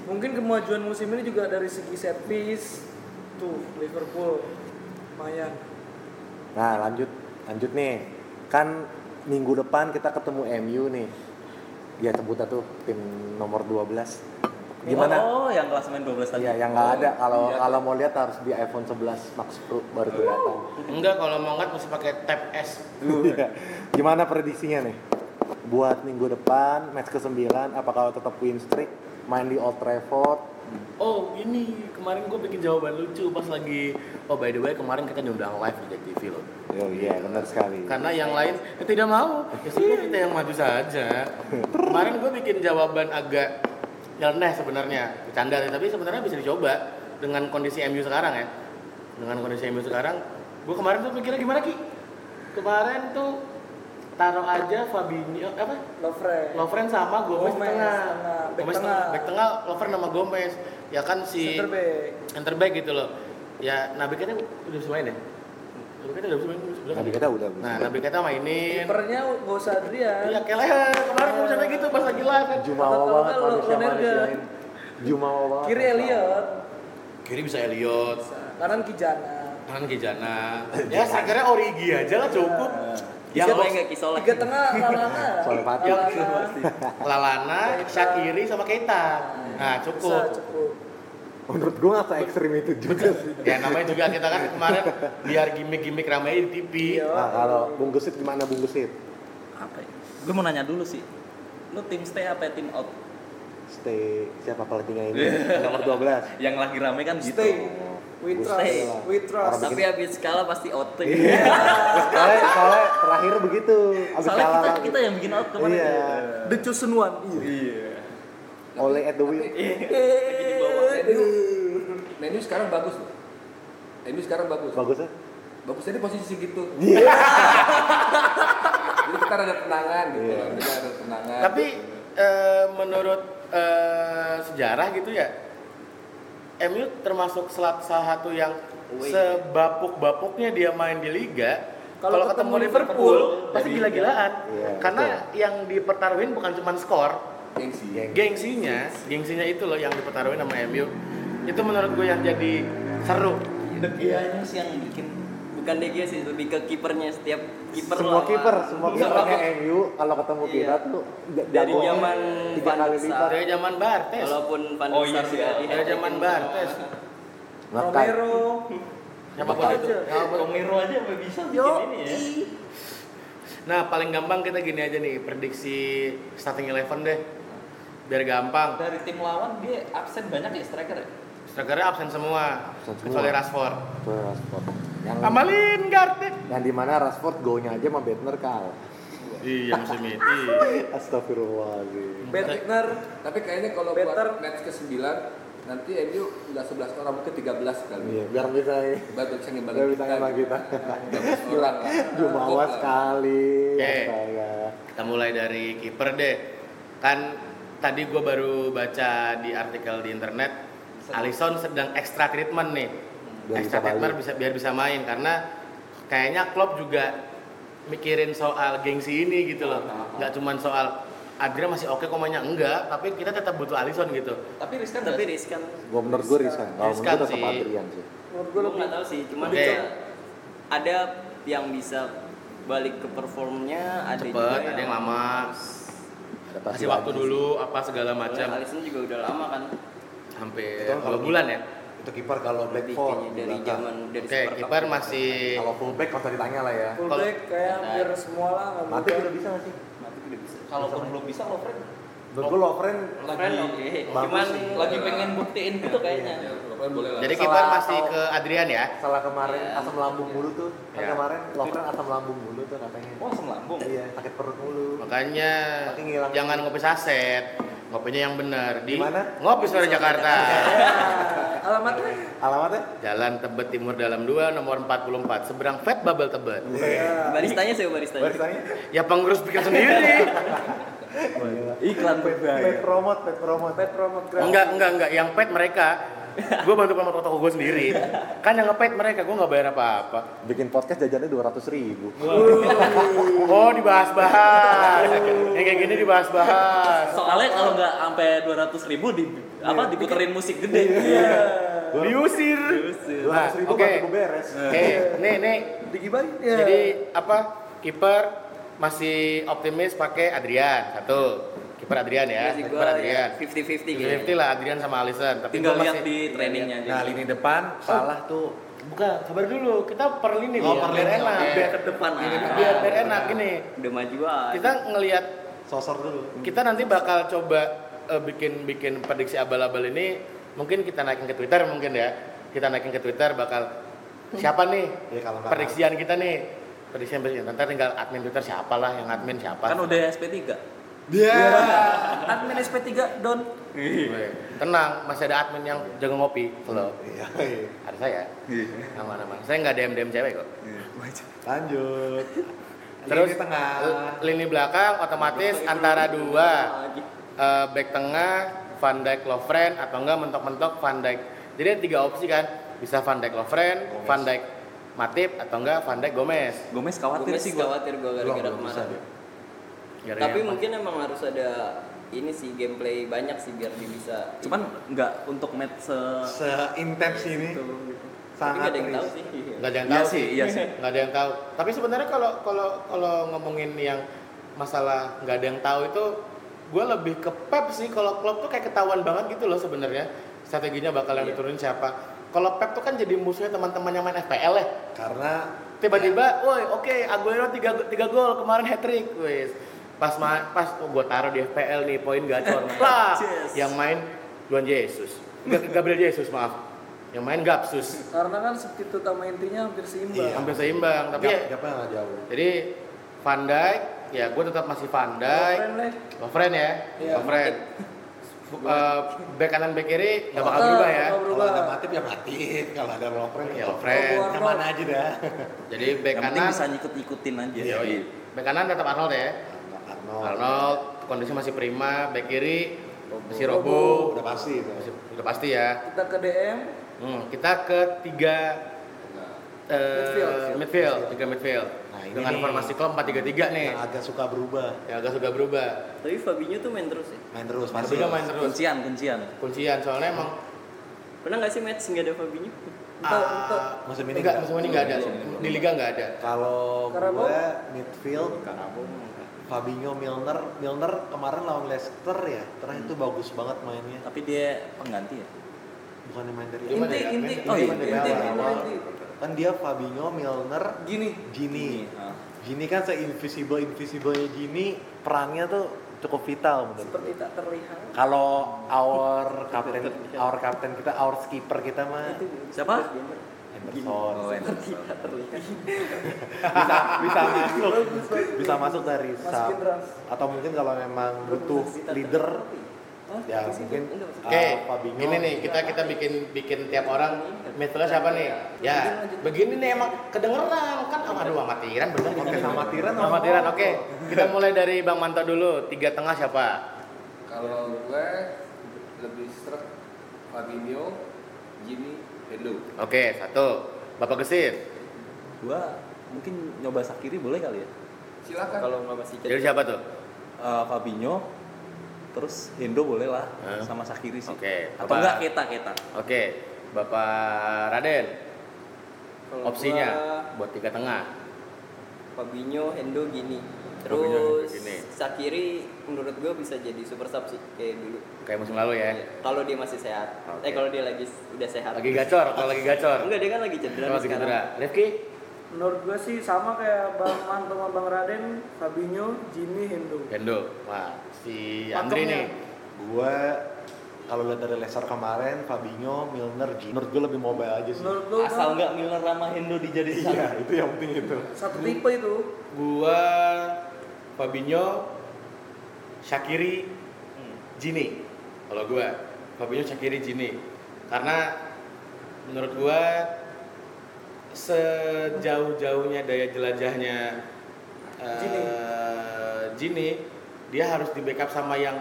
D: Mungkin kemajuan musim ini juga dari segi set piece tuh Liverpool lumayan.
B: Nah lanjut, lanjut nih. Kan minggu depan kita ketemu MU nih. Ya sebut tuh tim nomor 12. Gimana?
C: Oh, yang klasemen 12 tadi.
B: Iya, yang nggak ada. Kalau
F: Iya.
B: kalau mau lihat harus di iPhone 11 Max Pro baru kelihatan.
A: Enggak, kalau mau ngat mesti pakai tab S.
B: Iya. Gimana prediksinya nih? Buat minggu depan match ke-9 apakah tetap win streak? Main di Old Trafford?
A: Oh ini kemarin gue bikin jawaban lucu pas lagi oh by the way kemarin kita nyundang live di Jack TV loh
B: Oh iya, benar sekali.
A: karena yang lain "Eh, tidak mau ya sudah kita yang maju saja kemarin gue bikin jawaban agak nyeleneh sebenarnya bercanda sih, tapi sebenarnya bisa dicoba dengan kondisi MU sekarang ya dengan kondisi MU sekarang gue kemarin tuh mikirnya gimana ki kemarin tuh taruh aja Fabinho eh, apa
D: Lovren.
A: Lovren sama Gomez,
D: Gomez
A: tengah.
D: tengah, back
A: Gomez
D: tengah.
A: tengah. Back tengah, Lovren sama Gomez. Ya kan si
D: Center back.
A: center back gitu loh. Ya Nabi Keita udah bisa main ya? Nabi Keita udah bisa main. udah
B: Nabi
A: kan?
B: Keita udah bisa.
A: Nah, Nabi Keita mainin.
D: Kipernya gak usah Adrian.
A: Iya, kayak kemarin gue misalnya gitu pas lagi live kan.
B: Jumawa
D: Nah, Kalau
B: banget
D: nggak, lo-
B: manusia
D: lo nerga.
B: manusiain. Jumawa banget.
D: Kiri Elliot,
A: Kiri bisa Elliot,
D: kanan Kijana.
A: kanan Kijana. ya, sekarang Origi aja lah cukup. Yang
E: yang siapa yang nggak kisah lah
D: Tiga tengah Lalana.
B: Soalnya Fatih.
D: Lalana.
A: Lalana, Shakiri sama Keita. Nah,
D: Bisa
F: Oh.
A: cukup.
D: cukup.
B: Menurut gua nggak se ekstrim itu juga sih.
A: Ya namanya juga kita kan kemarin biar gimmick-gimmick ramai di TV.
D: Iya.
B: Nah, kalau Bung Gesit gimana Bung Gesit?
C: Apa ya? Gue mau nanya dulu sih. Lu tim stay apa ya tim out?
B: Stay siapa pelatihnya ini? nomor 12.
C: Yang lagi rame kan gitu.
D: Stay. We
B: Stay.
D: trust. We trust.
B: Orang
E: tapi habis kalah pasti out
B: Iya. soalnya, soalnya terakhir begitu. Abis
C: Soalnya
B: kalah
C: kita,
B: lagi.
C: kita yang bikin out kemarin.
B: Iya.
D: The chosen one.
B: Oleh at the wheel.
F: Menu, menu sekarang bagus loh. Menu sekarang bagus.
B: Bagus ya?
F: Bagusnya di posisi segitu.
B: Iya.
F: Jadi kita ada tenangan gitu.
B: Iya.
F: loh. Kita ada tenangan.
A: Tapi eh, menurut eh, sejarah gitu ya, MU termasuk salah salah satu yang
E: Wih.
A: sebapuk-bapuknya dia main di liga.
D: Kalau
A: Kalau ketemu
D: ketemu
A: Liverpool
D: Liverpool,
A: pasti
F: jadi-
A: gila-gilaan.
B: Iya,
A: Karena yang dipertaruhin bukan cuma skor,
F: gengsi.
B: Geng.
A: gengsinya, gengsinya itu loh yang dipertaruhin sama MU. Itu menurut gue yang jadi seru.
E: iya sih yang bikin bukan DG sih lebih ke kipernya setiap kiper
B: semua
E: lawan.
B: kiper, semua kipernya
E: Sama-
B: MU kalau ketemu
E: Iya.
B: kita tuh ja-
E: Dari
B: jagonya
E: zaman
B: tiga
E: Van
B: kali
E: Gaal.
B: lipat.
A: Dari zaman Bartes,
E: walaupun Van
C: Oh, iya sih,
E: nggak
C: ya.
E: di-
A: dari zaman Bartes.
B: Ngekat.
D: Romero.
A: Siapa pun itu.
C: Romero aja apa bisa bikin
D: Yo.
C: ini ya?
A: Nah, paling gampang kita gini aja nih, prediksi starting eleven deh. biar gampang.
C: Dari tim lawan dia absen banyak ya striker ya?
A: Strikernya absen semua,
B: Absen semua.
A: kecuali Rashford.
B: Itu Rashford. Yang,
A: Sama Lingard deh.
B: yang dimana Rashford goalnya aja sama Bettner kalah.
A: Iya musim itu.
B: Astagfirullahaladzim.
D: Bettner
F: Tapi kayaknya kalau
D: Better.
F: buat match ke-9 nanti MU nggak 11 orang mungkin 13 kali.
B: Iya, biar bisa
F: Baru cengin
B: biar
F: bareng
B: bisa sama kita.
F: Orang
B: Jumawa sekali.
A: Oke.
B: Astaga.
A: Kita mulai dari kiper deh. Kan tadi gue baru baca di artikel di internet, Alisson sedang extra treatment nih.
B: Biar
A: extra
B: bisa
A: treatment
B: balik.
A: bisa biar bisa main karena kayaknya Klopp juga mikirin soal gengsi ini gitu loh. Nggak cuman soal Adria masih oke komanya enggak, tapi kita tetap butuh Alisson gitu.
C: Tapi riskan
E: tapi
C: tapi
E: riskan
B: Gue menurut gue resign. Kalau menurut
A: Riskan
B: gue tetap
A: sih.
B: Adrian sih.
D: menurut
E: gue
D: gue lebih
E: nggak tahu sih cuman
A: Oke.
E: kayak ada yang bisa balik ke performnya ada
B: Iya.
E: juga
A: Cepet, ada yang lama,
B: Adaptasi
A: kasih waktu
B: lagi.
A: dulu apa segala
E: Soalnya
A: macam
E: Alisson juga udah lama kan
A: sampai
B: Iya. Betul,
A: dua
B: kalau-
A: bulan ya.
B: Itu kiper kalau
E: bikinnya
B: di
E: dari
B: belakang.
E: zaman dari
A: Oke,
E: Super Cup.
A: kiper masih
B: Kalau fullback kalau ditanya lah ya.
D: fullback kayak hampir semua lah nggak
B: Mati
D: berubah.
B: udah bisa nggak sih?
C: kalaupun belum bisa Lovren
B: Menurut gue Lovren
E: Keren, oke.
B: bagus
E: cuman
B: sih.
C: lagi pengen buktiin gitu kayaknya.
F: Ya, Pokoknya boleh lah.
A: jadi
B: Salah
A: kiper masih
B: atau-
A: ke Adrian ya.
B: salah kemarin asam lambung mulu tuh. Kan
A: Iya.
B: kemarin Lovren asam lambung mulu tuh katanya.
C: Oh, asam lambung.
B: Iya, sakit perut mulu.
A: Makanya
B: Tapi ngilang.
A: jangan ngopi saset. Ngopinya yang benar di
B: Gimana?
A: Ngopi Sore Jakarta.
D: Nah, alamatnya
B: Alamatnya?
A: Jalan Tebet Timur Dalam 2 nomor 44 seberang Fat Bubble Tebet.
E: baristanya saya baristanya
B: Barisannya?
A: Ya pengurus bikin sendiri.
C: Iklan
B: Iya. Pet promote, pet promote.
D: pet promote gratis.
A: enggak, enggak, enggak, yang pet mereka. Gue bantu promotor toko gue sendiri. Kan yang ngepet mereka, gue nggak bayar apa-apa.
B: Bikin podcast jajannya 200 ribu.
A: Oh, dibahas-bahas. Yang kayak gini dibahas-bahas.
C: Soalnya kalau nggak sampai 200 ribu di apa diputerin musik gede. Iya.
A: Diusir.
B: 200
A: Nah,
B: ribu Eh.
A: oke.
B: baru gue beres.
A: Oke, nih nih.
D: digibahin
B: Iya.
D: ya
A: Jadi apa? Kiper masih optimis pakai Adrian satu. Kiper Adrian
C: Iya
A: ya.
E: Masih
A: Kiper
E: gua ya,
A: Adrian.
E: 50-50 gitu
A: Fifty lah Adrian sama Alisson. Tapi
C: Tinggal
A: gua
C: lihat
A: masih-
C: di trainingnya aja.
B: Nah, lini depan salah tuh.
A: Bukan, sabar dulu. Kita per lini
B: Oh,
A: nih,
B: per
A: biar
B: lini,
A: enak.
B: oke.
A: Nah, Biar,
E: ke depan lah
A: Iya. biar, biar enak gini.
E: udah maju aja
A: Kita ngelihat
B: Sosor dulu.
A: kita nanti bakal coba eh, bikin bikin prediksi abal-abal ini mungkin kita naikin ke Twitter mungkin ya kita naikin ke Twitter bakal siapa nih
B: Ya, kalau nggak-
A: prediksian kita nih prediksian prediksian nanti tinggal admin Twitter siapalah yang admin siapa
C: Kan udah SP3.
D: admin SP3 down
A: Weh, Iya. tenang masih ada admin yang jaga ngopi kalau
B: Iya, iya.
A: ada saya aman aman saya nggak dm dm cewek kok
B: Lanjut.
A: terus eh,
B: lini tengah.
A: l- lini belakang otomatis antara dua
F: Iya.
A: eh, back tengah Van Dijk Lovren atau enggak mentok-mentok Van Dijk jadi ada tiga opsi kan bisa Van Dijk Lovren
B: Gomez.
A: Van Dijk Matip atau enggak Van Dijk Gomez
C: Gomez
E: gue
C: khawatir
E: sih
C: sih gua.
E: khawatir gue
B: Belum,
E: gara-gara
B: belum bisa
E: kemarin
B: dia.
A: Gara-gara
E: tapi
A: yang-
E: mungkin emang harus ada ini sih gameplay banyak sih biar dia bisa
C: Cuman nggak untuk match se
B: Seintens ini
E: Gitu, gitu. tapi
B: sangat
E: gak ada yang tahu
B: risih.
E: sih
A: nggak ada yang
C: Iya
A: tahu
C: sih, iya sih.
A: nggak ada yang tahu tapi sebenarnya kalau kalau kalau ngomongin yang masalah nggak ada yang tahu itu gue lebih ke Pep sih kalau Klopp tuh kayak ketahuan banget gitu loh sebenarnya strateginya bakal
C: Iya.
A: yang diturunin siapa kalau Pep tuh kan jadi musuhnya teman-teman yang main FPL ya
B: karena
C: Iya.
A: tiba-tiba woi oke Aguero 3 tiga gol kemarin hat trick wis pas ma- pas oh, gue taruh di FPL nih poin gacor lah yang main Juan Jesus Nggak, Gabriel Jesus maaf yang main Gapsus
D: karena kan subtitle utama intinya hampir seimbang
C: Iya.
A: hampir seimbang tapi ya-
B: gap, iya, gapnya nggak jauh.
A: jadi Van Dijk ya gue tetap masih Van Dijk
D: Keren, Le.
A: Lovren ya
D: Iya.
A: Lovren Eh, back kanan back kiri nggak bakal
D: Tetap,
A: berubah ya
D: nggak
B: Kalau
D: berubah.
B: ada matip ya matip, kalau ada lovren
A: ya
B: ya lovren.
A: Lovren
D: Keluar.
B: Kemana aja dah?
A: jadi back
C: yang penting
A: kanan
C: bisa ngikut-ngikutin aja.
B: Iya, iya.
A: back kanan tetap Arnold ya
B: Arnold.
A: Arnold kondisi masih prima back kiri masih Robo
B: Udah pasti itu.
A: Masih- udah pasti ya
D: kita ke DM
A: Hmm, kita ke tiga eh,
D: Midfield.
A: midfield, tiga midfield.
B: Nah, ini
A: Dengan
B: nih. Nah.
A: formasi klub empat tiga tiga nih,
B: Yang agak suka berubah.
A: ya agak sudah berubah.
E: tapi Fabinho tuh main terus ya
B: Main terus,
A: Tapi
B: masih.
A: dia main terus.
C: Kuncian, kuncian.
A: Kuncian soalnya emang
E: pernah nggak sih match nggak ada Fabinho
D: Entah,
A: ah,
D: entah.
B: Musim ini
A: enggak,
B: enggak.
A: musim ini enggak ada. Di liga enggak ada.
B: Kalau
D: Karabo?
B: gue midfield, Fabinho Milner, Milner kemarin lawan Leicester ya, terakhir itu bagus banget mainnya.
C: Tapi dia pengganti ya.
B: Bukannya main dari
A: Dia main
C: Inti,
A: dari-
C: inti.
A: main-
C: Oh iya,
A: main dari
C: inti,
A: awal.
D: inti, inti.
B: kan dia Fabinho Milner,
D: gini
B: Gini.
C: Gini, ah.
B: Gini kan se invisible invisiblenya Gini, perangnya tuh cukup vital menurut
D: seperti tak terlihat
B: Kalau our kapten, our kapten kita, our skipper kita mah
C: Siapa?
D: Oh,
B: Emerson.
D: iya.
C: Emerson.
B: Bisa, bisa masuk, bisa masuk dari sub.
D: masukin ras
B: Atau mungkin kalau memang butuh leader, ya mungkin
A: Oke, ini nih kita kita bikin bikin tiap orang metode siapa nih? Ya, begini nih emang kedengeran kan sama aduh amatiran bener
B: Oke, sama Tiran oh. sama-
A: Amatiran, oke. Kita mulai dari Bang Manto dulu. Tiga tengah siapa?
F: Kalau gue lebih stroke Fabinho, Jimmy, Hendo.
A: Oke, satu. Bapak Gesit.
C: Gua mungkin nyoba Sakiri boleh kali ya?
F: Silakan.
E: Kalau nggak masih
A: Jadi
E: jadi.
A: siapa tuh?
C: Eh, Fabinho terus Hendo boleh lah
A: Eh.
C: sama Sakiri sih.
A: Oke,
C: Atau
A: Bapak.
C: enggak Keta Keta.
A: Oke, Bapak Raden.
E: Kalau
A: Opsinya
E: gua,
A: buat tiga tengah.
E: Fabinho, Hendo gini.
A: Fabinho, Hendo,
E: Terus
A: gini.
E: Sakiri menurut gue bisa jadi super sub sih kayak dulu.
A: Kayak musim lalu ya.
E: Kalau dia masih sehat.
A: Oke.
E: Eh kalau dia lagi udah sehat.
A: Lagi gacor, kalau lagi gacor.
E: Enggak dia kan lagi cedera
A: Kalau
E: nih
A: lagi
E: sekarang.
A: cedera. Rifki?
D: menurut gue sih sama kayak Bang Manto sama Bang Raden Fabinho Jimmy Hendo
A: Hendo. Wah, si
D: Pakemnya.
A: Andri nih.
B: Gue kalau lihat dari Leicester kemarin, Fabinho, Milner, Gini, menurut gue lebih mobile aja sih.
D: menurut lo
C: Asal enggak Milner sama Hendo dijadiin satu.
B: Iya, itu yang penting itu.
D: satu tipe itu
A: Gua Fabinho Shakiri Jini. Kalau gua Fabinho Shakiri Jini. Karena menurut gua sejauh-jauhnya daya jelajahnya eh,
D: Gini.
A: Gini, dia harus di backup sama yang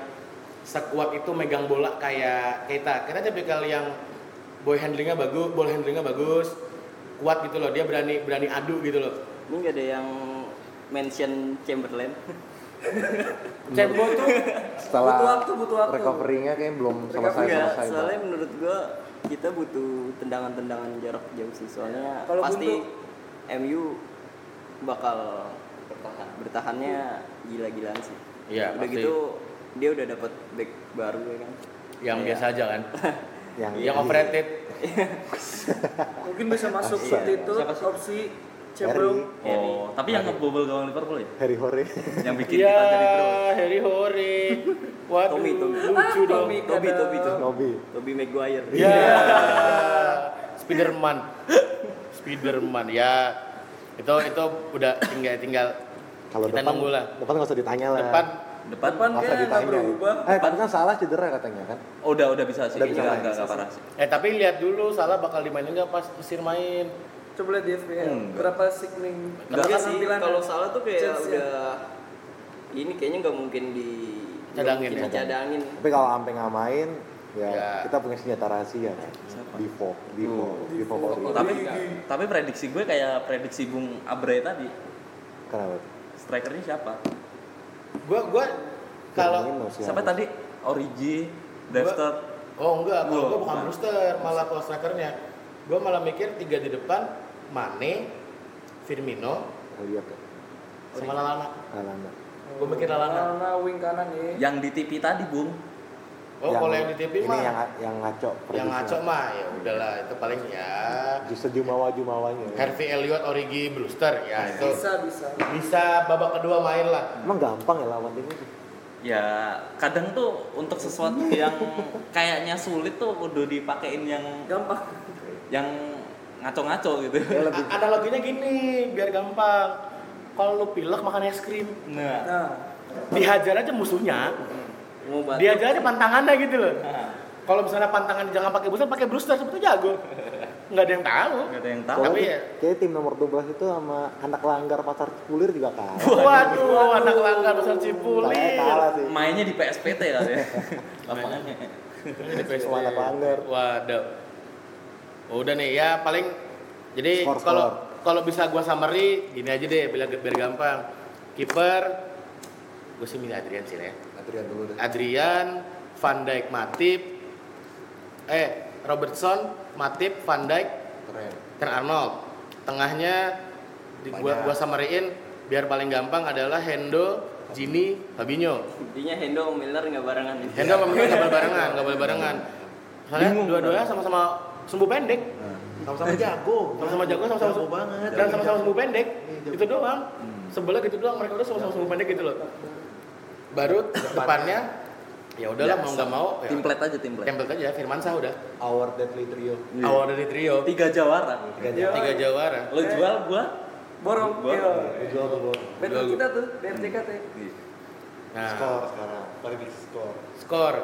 A: sekuat itu megang bola kayak kita. Kita tipikal yang boy handlingnya bagus, ball handlingnya bagus, kuat gitu loh. Dia berani berani adu gitu loh.
E: Ini nggak ada yang mention Chamberlain.
D: Cembol tuh
B: Setelah
D: Butuh waktu, butuh waktu.
B: recovery-nya kayaknya belum selesai
E: Enggak,
B: selesai.
E: soalnya menurut gua kita butuh tendangan-tendangan jarak jauh sih. Soalnya
D: Kalau
E: pasti MU bakal bertahan. Bertahannya gila-gilaan sih.
A: Iya,
E: Udah
A: pasti.
E: gitu dia udah dapat back baru ya kan.
A: yang
E: Iya.
A: biasa aja kan
B: Yang,
A: yang overrated
D: mungkin bisa masuk
C: Iya.
D: substitute
C: Siapa sih?
D: opsi Cebro
E: Iya.
C: Oh, tapi yang ngebobol gawang Liverpool ya?
B: Harry Hore.
C: Yang bikin
A: iya
C: kita jadi bro.
A: Harry Hore waduh
E: Tommy, Tommy.
A: lucu dong
D: Tommy.
E: Tobi,
D: Oh, ada-
E: Tobi, Tobi.
B: Nobi. Iya.
E: Tobi Maguire.
A: ya Spiderman Spiderman ya itu itu udah tinggal tinggal
B: Kalau
A: kita
B: depan,
A: nunggu lah
B: depan nggak usah ditanya lah.
A: depan
C: Depan
D: Depan
B: Nggak usah
D: kayaknya nggak
B: ditanya.
D: berubah
B: Eh, tapi kan salah cedera katanya kan?
C: oh, udah udah bisa sih.
B: Udah bisa
C: Enggak
B: main.
C: enggak enggak parah sih.
A: eh tapi lihat dulu salah bakal dimainin nggak pas Mesir main
D: coba lihat di FPL
C: Hmm, Enggak.
D: berapa signing
E: Enggak
D: berapa
E: sih,
D: penampilan
E: kalau salah tuh kayak
D: Chelsea.
E: udah ini kayaknya nggak mungkin di
A: Cadangin
E: nggak mungkin
A: ya?
E: dicadangin.
B: Tapi kalau Ampe nggak main, ya,
A: Ya.
B: kita punya senjata rahasia kan? Divo, Divo, Divo Hore.
C: Oh, Tapi tapi prediksi gue kayak prediksi Bung Abre tadi.
B: Kenapa? tuh?
C: Strikernya siapa?
A: gua gua kalau
B: Firmino sih
C: Siapa
B: harus.
C: tadi? Origi, Brewster,
A: oh enggak kalau
C: Gua-
A: gua bukan Brewster malah kalau strikernya gua malah mikir tiga di depan Mane Firmino
B: Kita Lihat ya.
A: sama Lalana
B: Alana.
A: Gua mikir Lalana
D: Lallana Hmm, wing kanan ya
E: Iya.
C: yang di TV tadi bung
A: Oh, kalau yang di TV
B: ini
A: mah
B: yang
A: yang,
B: yang ngaco.
A: ngaco mah ya udahlah itu paling ya
B: Justru jumawa jumawanya.
A: Harvey Elliot, Origi, Brewster ya itu
D: bisa bisa
A: bisa babak kedua main lah.
B: Emang gampang ya lawan ini?
C: ya kadang tuh untuk sesuatu yang kayaknya sulit tuh udah dipakein yang
D: gampang
C: yang ngaco-ngaco gitu
A: A- Analoginya gini biar gampang. Kalau lu pilek makan es krim,
C: nah
D: nah
A: dihajar aja musuhnya,
E: Mau bantu.
A: dihajar aja pantangannya gitu loh.
C: Nah,
A: Kalau misalnya pantangan jangan pakai Brewster, pakai Brewster sebetulnya jago. Nggak ada yang tahu.
C: nggak ada yang tahu
B: Soalnya
A: Tapi ya-
B: kayak tim nomor 12 itu sama anak langgar pasar Cipulir juga kalah.
A: Waduh, anak langgar besar
B: Saya
A: cipulir.
B: kalah sih.
C: mainnya di PSPT kali ya lapangannya
A: Ini PSV.
B: Cuma anak langgar.
A: Waduh. Udah nih ya paling jadi
B: Skor,
A: kalau kalau bisa gua summary gini aja deh biar, biar gampang. Kiper gue sih milih Adrian sih ya.
F: Adrian dulu deh.
A: Adrian, Van Dijk, Matip, eh Robertson, Matip, Van Dijk,
F: Keren.
A: Trent Arnold. Tengahnya di, gua gua summary-in biar paling gampang adalah Hendo, Gini, Fabinho.
E: Intinya Hendo sama Milner nggak barengan.
A: Hendo sama Mourinho nggak boleh barengan, nggak boleh barengan. Soalnya dua-duanya sama-sama sembuh pendek,
B: Sama-sama jago.
A: sama-sama jago, sama-sama
B: Jago banget.
A: dan sama-sama sembuh pendek.
B: Iya, jago.
C: Hmm.
A: Itu doang. Sebelah gitu doang, mereka udah sama-sama sembuh pendek gitu loh. baru depannya ya udahlah mau nggak mau ya,
C: Template aja template.
A: template aja Firmansyah udah
B: Our Deadly Trio.
C: Iya.
A: awal dari trio
C: Tiga jawara.
D: Iya.
A: tiga jawara
C: Lo jual gua
D: Borong,
C: Borong.
D: iya.
B: Jual tuh bos.
D: Battle kita tuh, BMJKT.
A: nah
B: Skor sekarang. Paling di skor.
A: skor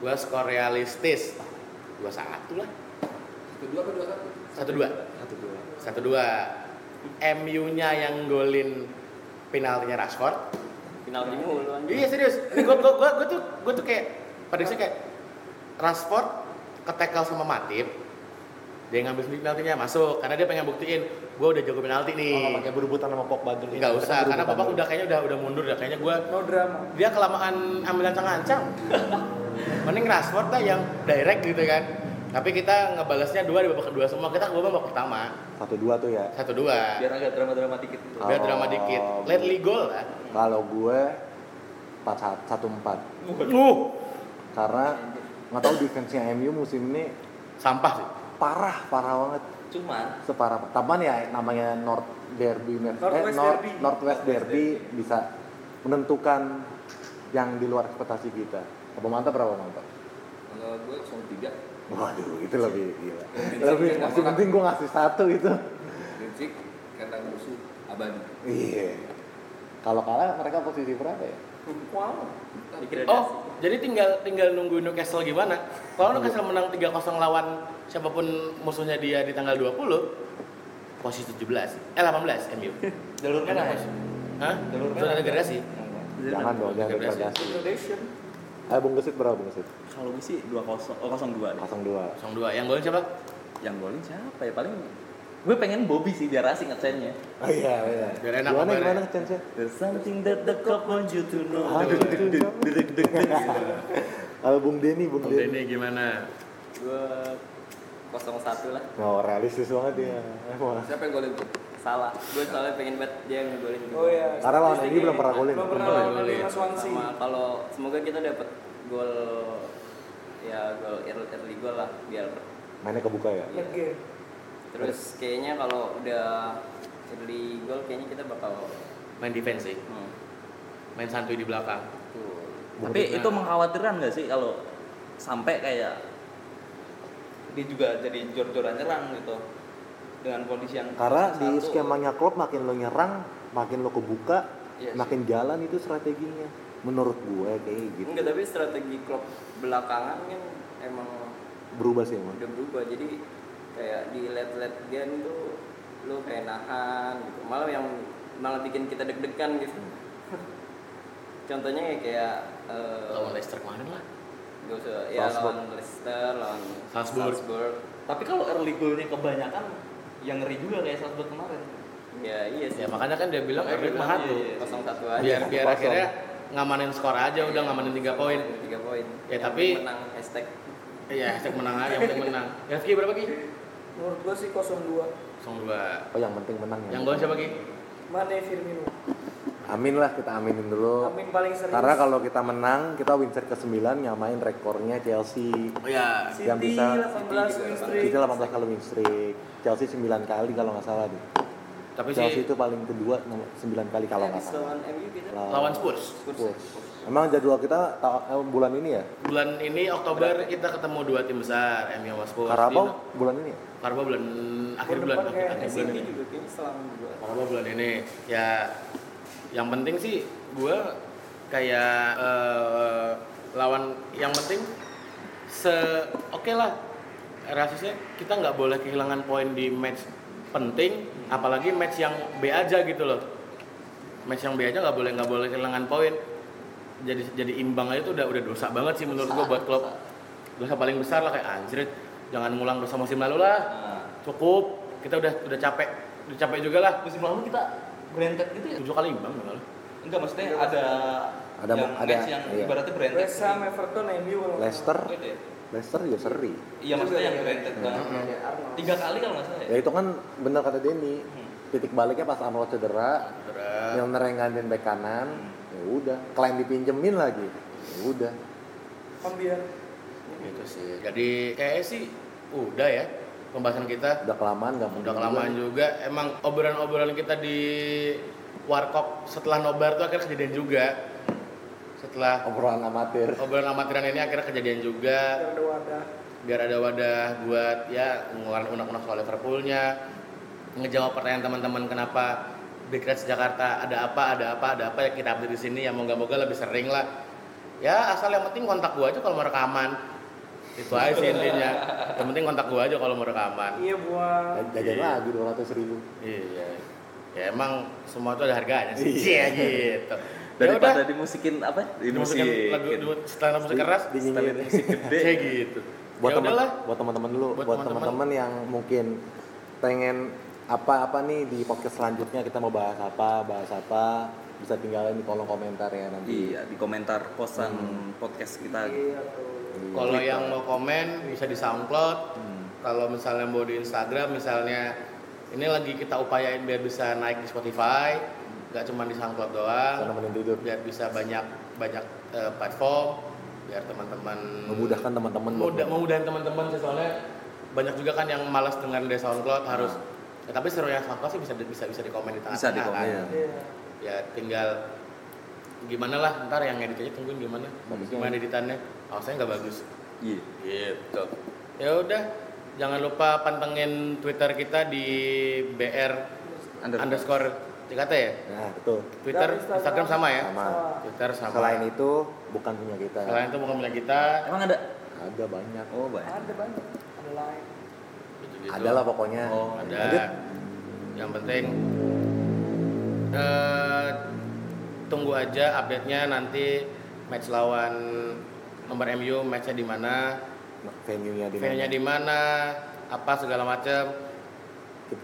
A: gua skor realistis dua satu lah
F: Kedua kedua satu.
A: satu dua
B: Satu dua.
A: satu dua MU nya yang golin penaltinya Rashford
E: final di mulu
A: iya
E: anjing.
A: serius Ini gua gua gua, gua tuh gua tuh kayak prediksi kayak Rashford ketekel sama Matip dia ngambil sendiri penaltinya masuk karena dia pengen buktiin gua udah jago penalti nih
B: Oh, nggak pakai berebutan sama Pogba dulu.
A: Iya. nggak usah karena
B: Berebutan
A: bapak
B: dulu.
A: udah kayaknya udah udah mundur dah kayaknya gua
D: No drama.
A: dia kelamaan ambil ancang-ancang mending Rashford lah yang direct gitu kan tapi kita ngebalasnya dua di babak kedua semua kita ke babak pertama
B: Satu dua tuh ya.
A: satu dua
C: biar agak drama-drama dikit. gitu.
A: biar
B: Oh.
A: drama dikit lately goal lah
B: Kalau gue empat sat- satu empat.
A: uh
B: Karena nggak tahu defense-nya MU musim ini
A: sampah sih
B: parah parah banget
C: Cuman
B: separah taman ya namanya North Derby eh, North,
D: Northwest
B: North,
D: Derby.
B: Northwest Derby bisa menentukan yang di luar ekspektasi kita apa mantap berapa mantap
F: Kalau gue langsung tiga.
B: waduh itu lebih gila
F: Prinsip
B: lebih
F: yang
B: masih
F: nggak
B: penting gue ngasih satu gitu. itu
F: Prinsip kandang musuh abadi.
B: iya kalau kalah mereka posisi berapa ya
D: Wow.
E: Degradasi.
C: Iya.
A: oh jadi tinggal tinggal nunggu Newcastle gimana kalau Newcastle menang 3-0 lawan siapapun musuhnya dia di tanggal 20 posisi 17 eh 18 MU
C: jalur
A: kan apa sih Hah? zona degradasi Iya,
B: jangan dong jangan
A: Degradasi.
B: degradasi
D: Indonesia.
B: eh bung gesit berapa bung gesit
C: Kalau gue sih 2-0, oh 0-2 deh.
B: 02
A: 02 yang golin siapa
C: Yang golin siapa ya? Paling gue pengen Bobby sih biar asing ngecennya.
B: oh iya iya
A: Biar enak
B: gimana
A: kabarnya.
B: gimana chance
C: There's something that the cop wants you to know. Oh,
B: Aduh,
C: iya. Deg, deg, deg, deg, deg, deg.
B: kalau Eh, bung Denny bung
A: Om
B: Denny
A: Denny gimana
E: Gue 01 Eh, lah.
B: Oh, realistis banget ya. Emang.
F: Siapa yang golin tuh?
E: Salah. Gue soalnya pengen banget dia ngegolin.
D: Oh iya.
B: Karena lawan ini belum pernah golin.
D: Belum pernah
A: Belum
D: lawan
A: golin.
D: Mas Wansi.
E: Sama kalau semoga kita dapat gol ya gol early, early goal lah biar
B: Mainnya kebuka ya.
D: Lege.
E: terus kayaknya kalau udah early goal kayaknya kita bakal
A: main defense sih
E: hmm,
A: main santuy di belakang
E: tuh
C: Tapi
F: nah.
C: itu mengkhawatirkan nggak sih kalau sampai kayak dia juga jadi jor-joran nyerang gitu dengan kondisi yang
B: Karena di
C: satu.
B: skemanya Klopp makin lo nyerang, makin lo kebuka,
E: Iya sih.
B: makin jalan itu strateginya. Menurut gue kayak gitu.
E: enggak tapi strategi klub belakangan kan emang
B: Berubah sih emang.
E: udah berubah jadi kayak di late late game tuh lu kayak nahan gitu malah yang malah bikin kita deg-degan gitu contohnya ya kayak eh,
A: lawan Leicester kemarin lah
E: Gak usah, ya
B: Salzburg.
E: lawan Leicester, lawan
A: Salzburg.
C: Tapi kalau early goalnya kebanyakan yang ngeri juga kayak saat buat kemarin.
E: Ya iya sih,
A: ya makanya kan dia bilang
C: Makanya
A: Erik
C: bilang,
A: mahal
C: iya,
A: tuh
C: iya.
E: 0-1 aja
A: biar biar
B: Kosong.
A: akhirnya ngamanin skor aja udah ngamanin tiga poin
E: 3 poin
A: Ya,
E: Yang
A: tapi-
E: penting menang, hashtag
A: iya hashtag menang aja yang penting menang yang Ki berapa Ki?
D: Menurut gua sih 02.
A: 02
B: Oh yang penting menang ya.
A: yang gol siapa Ki?
D: Mane Firmino.
B: Amin lah kita aminin dulu.
D: Amin paling serius.
B: Karena kalau kita menang, kita win streak ke-9 nyamain rekornya Chelsea.
A: oh ya
D: City
B: yang bisa- kan.
D: 18 win streak.
B: Kita 18 kali win streak. Chelsea 9 kali kalau nggak salah deh.
A: tapi sih
B: Chelsea itu paling kedua 9 kali kalau nggak
E: Habis
B: salah.
E: lawan MU kita
A: lawan Spurs
B: Spurs. Emang jadwal kita ta- eh, bulan ini ya?
A: bulan ini Oktober kita ketemu dua tim besar MU sama Spurs
B: Karabau
A: Di-
B: bulan ini ya?
A: Karabau bulan akhir
D: Bulan
A: bulan
D: depan
A: akhir,
D: kayak gitu.
A: akhir bulan
E: City
A: ini
E: juga kayaknya selama dua
A: Karabau bulan ini ya yang penting sih gue kayak eh, lawan yang penting se oke lah rasisnya kita nggak boleh kehilangan poin di match penting apalagi match yang B aja gitu loh match yang B aja nggak boleh nggak boleh kehilangan poin jadi jadi imbang aja itu udah udah dosa banget sih menurut gue buat klub dosa paling besar lah kayak anjir jangan ngulang dosa musim lalu lah
C: Nah,
A: cukup kita udah udah capek udah capek juga lah
C: musim lalu kita berentet gitu ya?
A: tujuh kali imbang malah
C: Enggak maksudnya ada
B: Ada-
C: yang
B: ada-
C: match yang
B: iya.
C: ibaratnya berentet.
D: West Ham, Everton, MU kalau nggak
B: Leicester,
D: salah.
C: Gitu ya?
B: Leicester juga seri.
C: Iya maksudnya yang berentet banget.
D: Ada Arnold.
C: Tiga kali kalau nggak salah ya. Hmm.
B: Ya itu kan benar kata Denny. Titik baliknya pas Arnold cedera, Milner yang gantiin back kanan, ya udah. Klaim dipinjemin lagi, ya udah.
D: Pambian.
A: gitu sih jadi kayaknya sih udah ya pembahasan kita
B: Udah kelamaan nggak
A: udah kelamaan juga emang obrolan-obrolan kita di warkop setelah nobar tuh akhirnya kejadian juga setelah
B: obrolan amatir
A: obrolan amatiran ini akhirnya kejadian juga
D: Biar ada wadah.
A: biar ada wadah buat ya ngeluarin unek-unek soal Liverpoolnya ngejawab pertanyaan teman-teman kenapa Big Reds Jakarta ada apa ada apa ada apa ya kita update di sini ya moga-moga lebih sering lah ya asal yang penting kontak gua aja kalau mau rekaman itu aja sih intinya yang penting kontak gua aja kalau mau rekaman
D: Iya
A: Oh,
D: buat
B: jajan lagi dua ratus ribu
A: iya ya emang semua itu ada harganya sih
B: Iya.
A: Iya, gitu
C: daripada dimusikin apa
A: dimusikin lagu
C: dimusikin
A: dua- setelah musik keras
C: setelan
B: dinyinyir
C: musik gede
A: kayak gitu
B: buat
A: ya
B: teman
A: udahlah
B: buat teman-teman dulu
A: Buat
B: buat
A: teman-teman.
B: teman-teman yang mungkin pengen apa-apa nih di podcast selanjutnya kita mau bahas apa bahas apa bisa tinggalin di kolom komentar ya nanti
C: iya di komentar posan podcast kita
D: iya tuh.
A: Kalau yang mau komen bisa di SoundCloud. Kalau misalnya mau di Instagram misalnya ini lagi kita upayain biar bisa naik di Spotify, nggak cuma di SoundCloud doang,
B: Karena nemenin tidur
A: biar bisa banyak banyak eh, platform, biar teman-teman
B: memudahkan teman-teman buat-
A: mudah memudahan teman-teman sih, soalnya banyak juga kan yang malas dengan di SoundCloud harus Ya, tapi seru yang SoundCloud sih bisa di- bisa bisa dikomen di tengah-tengah.
C: bisa di
E: ah.
C: komen
A: kan.
D: Iya.
A: Ya tinggal gimana lah ntar yang editnya tungguin gimana
B: Bagusnya.
A: gimana editannya awalnya nggak bagus
C: iya
A: Gitu. Ya udah, jangan lupa pantengin Twitter kita di BR
C: Under-
A: underscore Jakarta ya.
B: nah betul
A: Twitter,
D: Dan
A: Instagram, sama ya.
B: Sama.
A: Twitter
C: Nah,
A: sama.
B: selain itu bukan punya kita
A: Selain itu bukan punya kita.
C: emang ada
B: ada banyak
C: oh banyak
D: Ada banyak. Ada lain.
A: gitu-gitu.
B: ada lah pokoknya
C: Oh,
A: Ada.
B: Lanjut.
A: Yang penting eh, tunggu aja update-nya nanti match lawan nomor MU match-nya di mana,
B: venue-nya di mana.
A: venue-nya di mana, apa segala macam.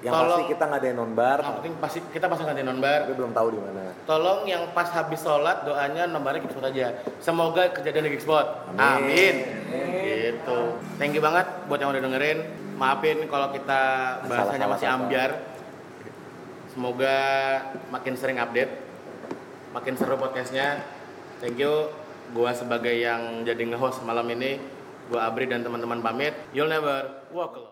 B: yang
A: Tolong.
B: pasti kita nggak ada bar
A: Yang penting pasti kita pasti ganti non bar.
B: tapi belum tahu di mana
A: Tolong yang pas habis sholat doanya nomornya Geekspot aja. Semoga kejadian di Geekspot. Amin. Gitu. Thank you banget buat yang udah dengerin. Maafin kalau kita bahasanya
B: Salah-salah
A: masih
B: kata.
A: ambiar. Semoga makin sering update, makin seru podcastnya. Thank you. Gua sebagai yang jadi nge-host malam ini, gua Abri dan teman-teman pamit. You'll never walk alone.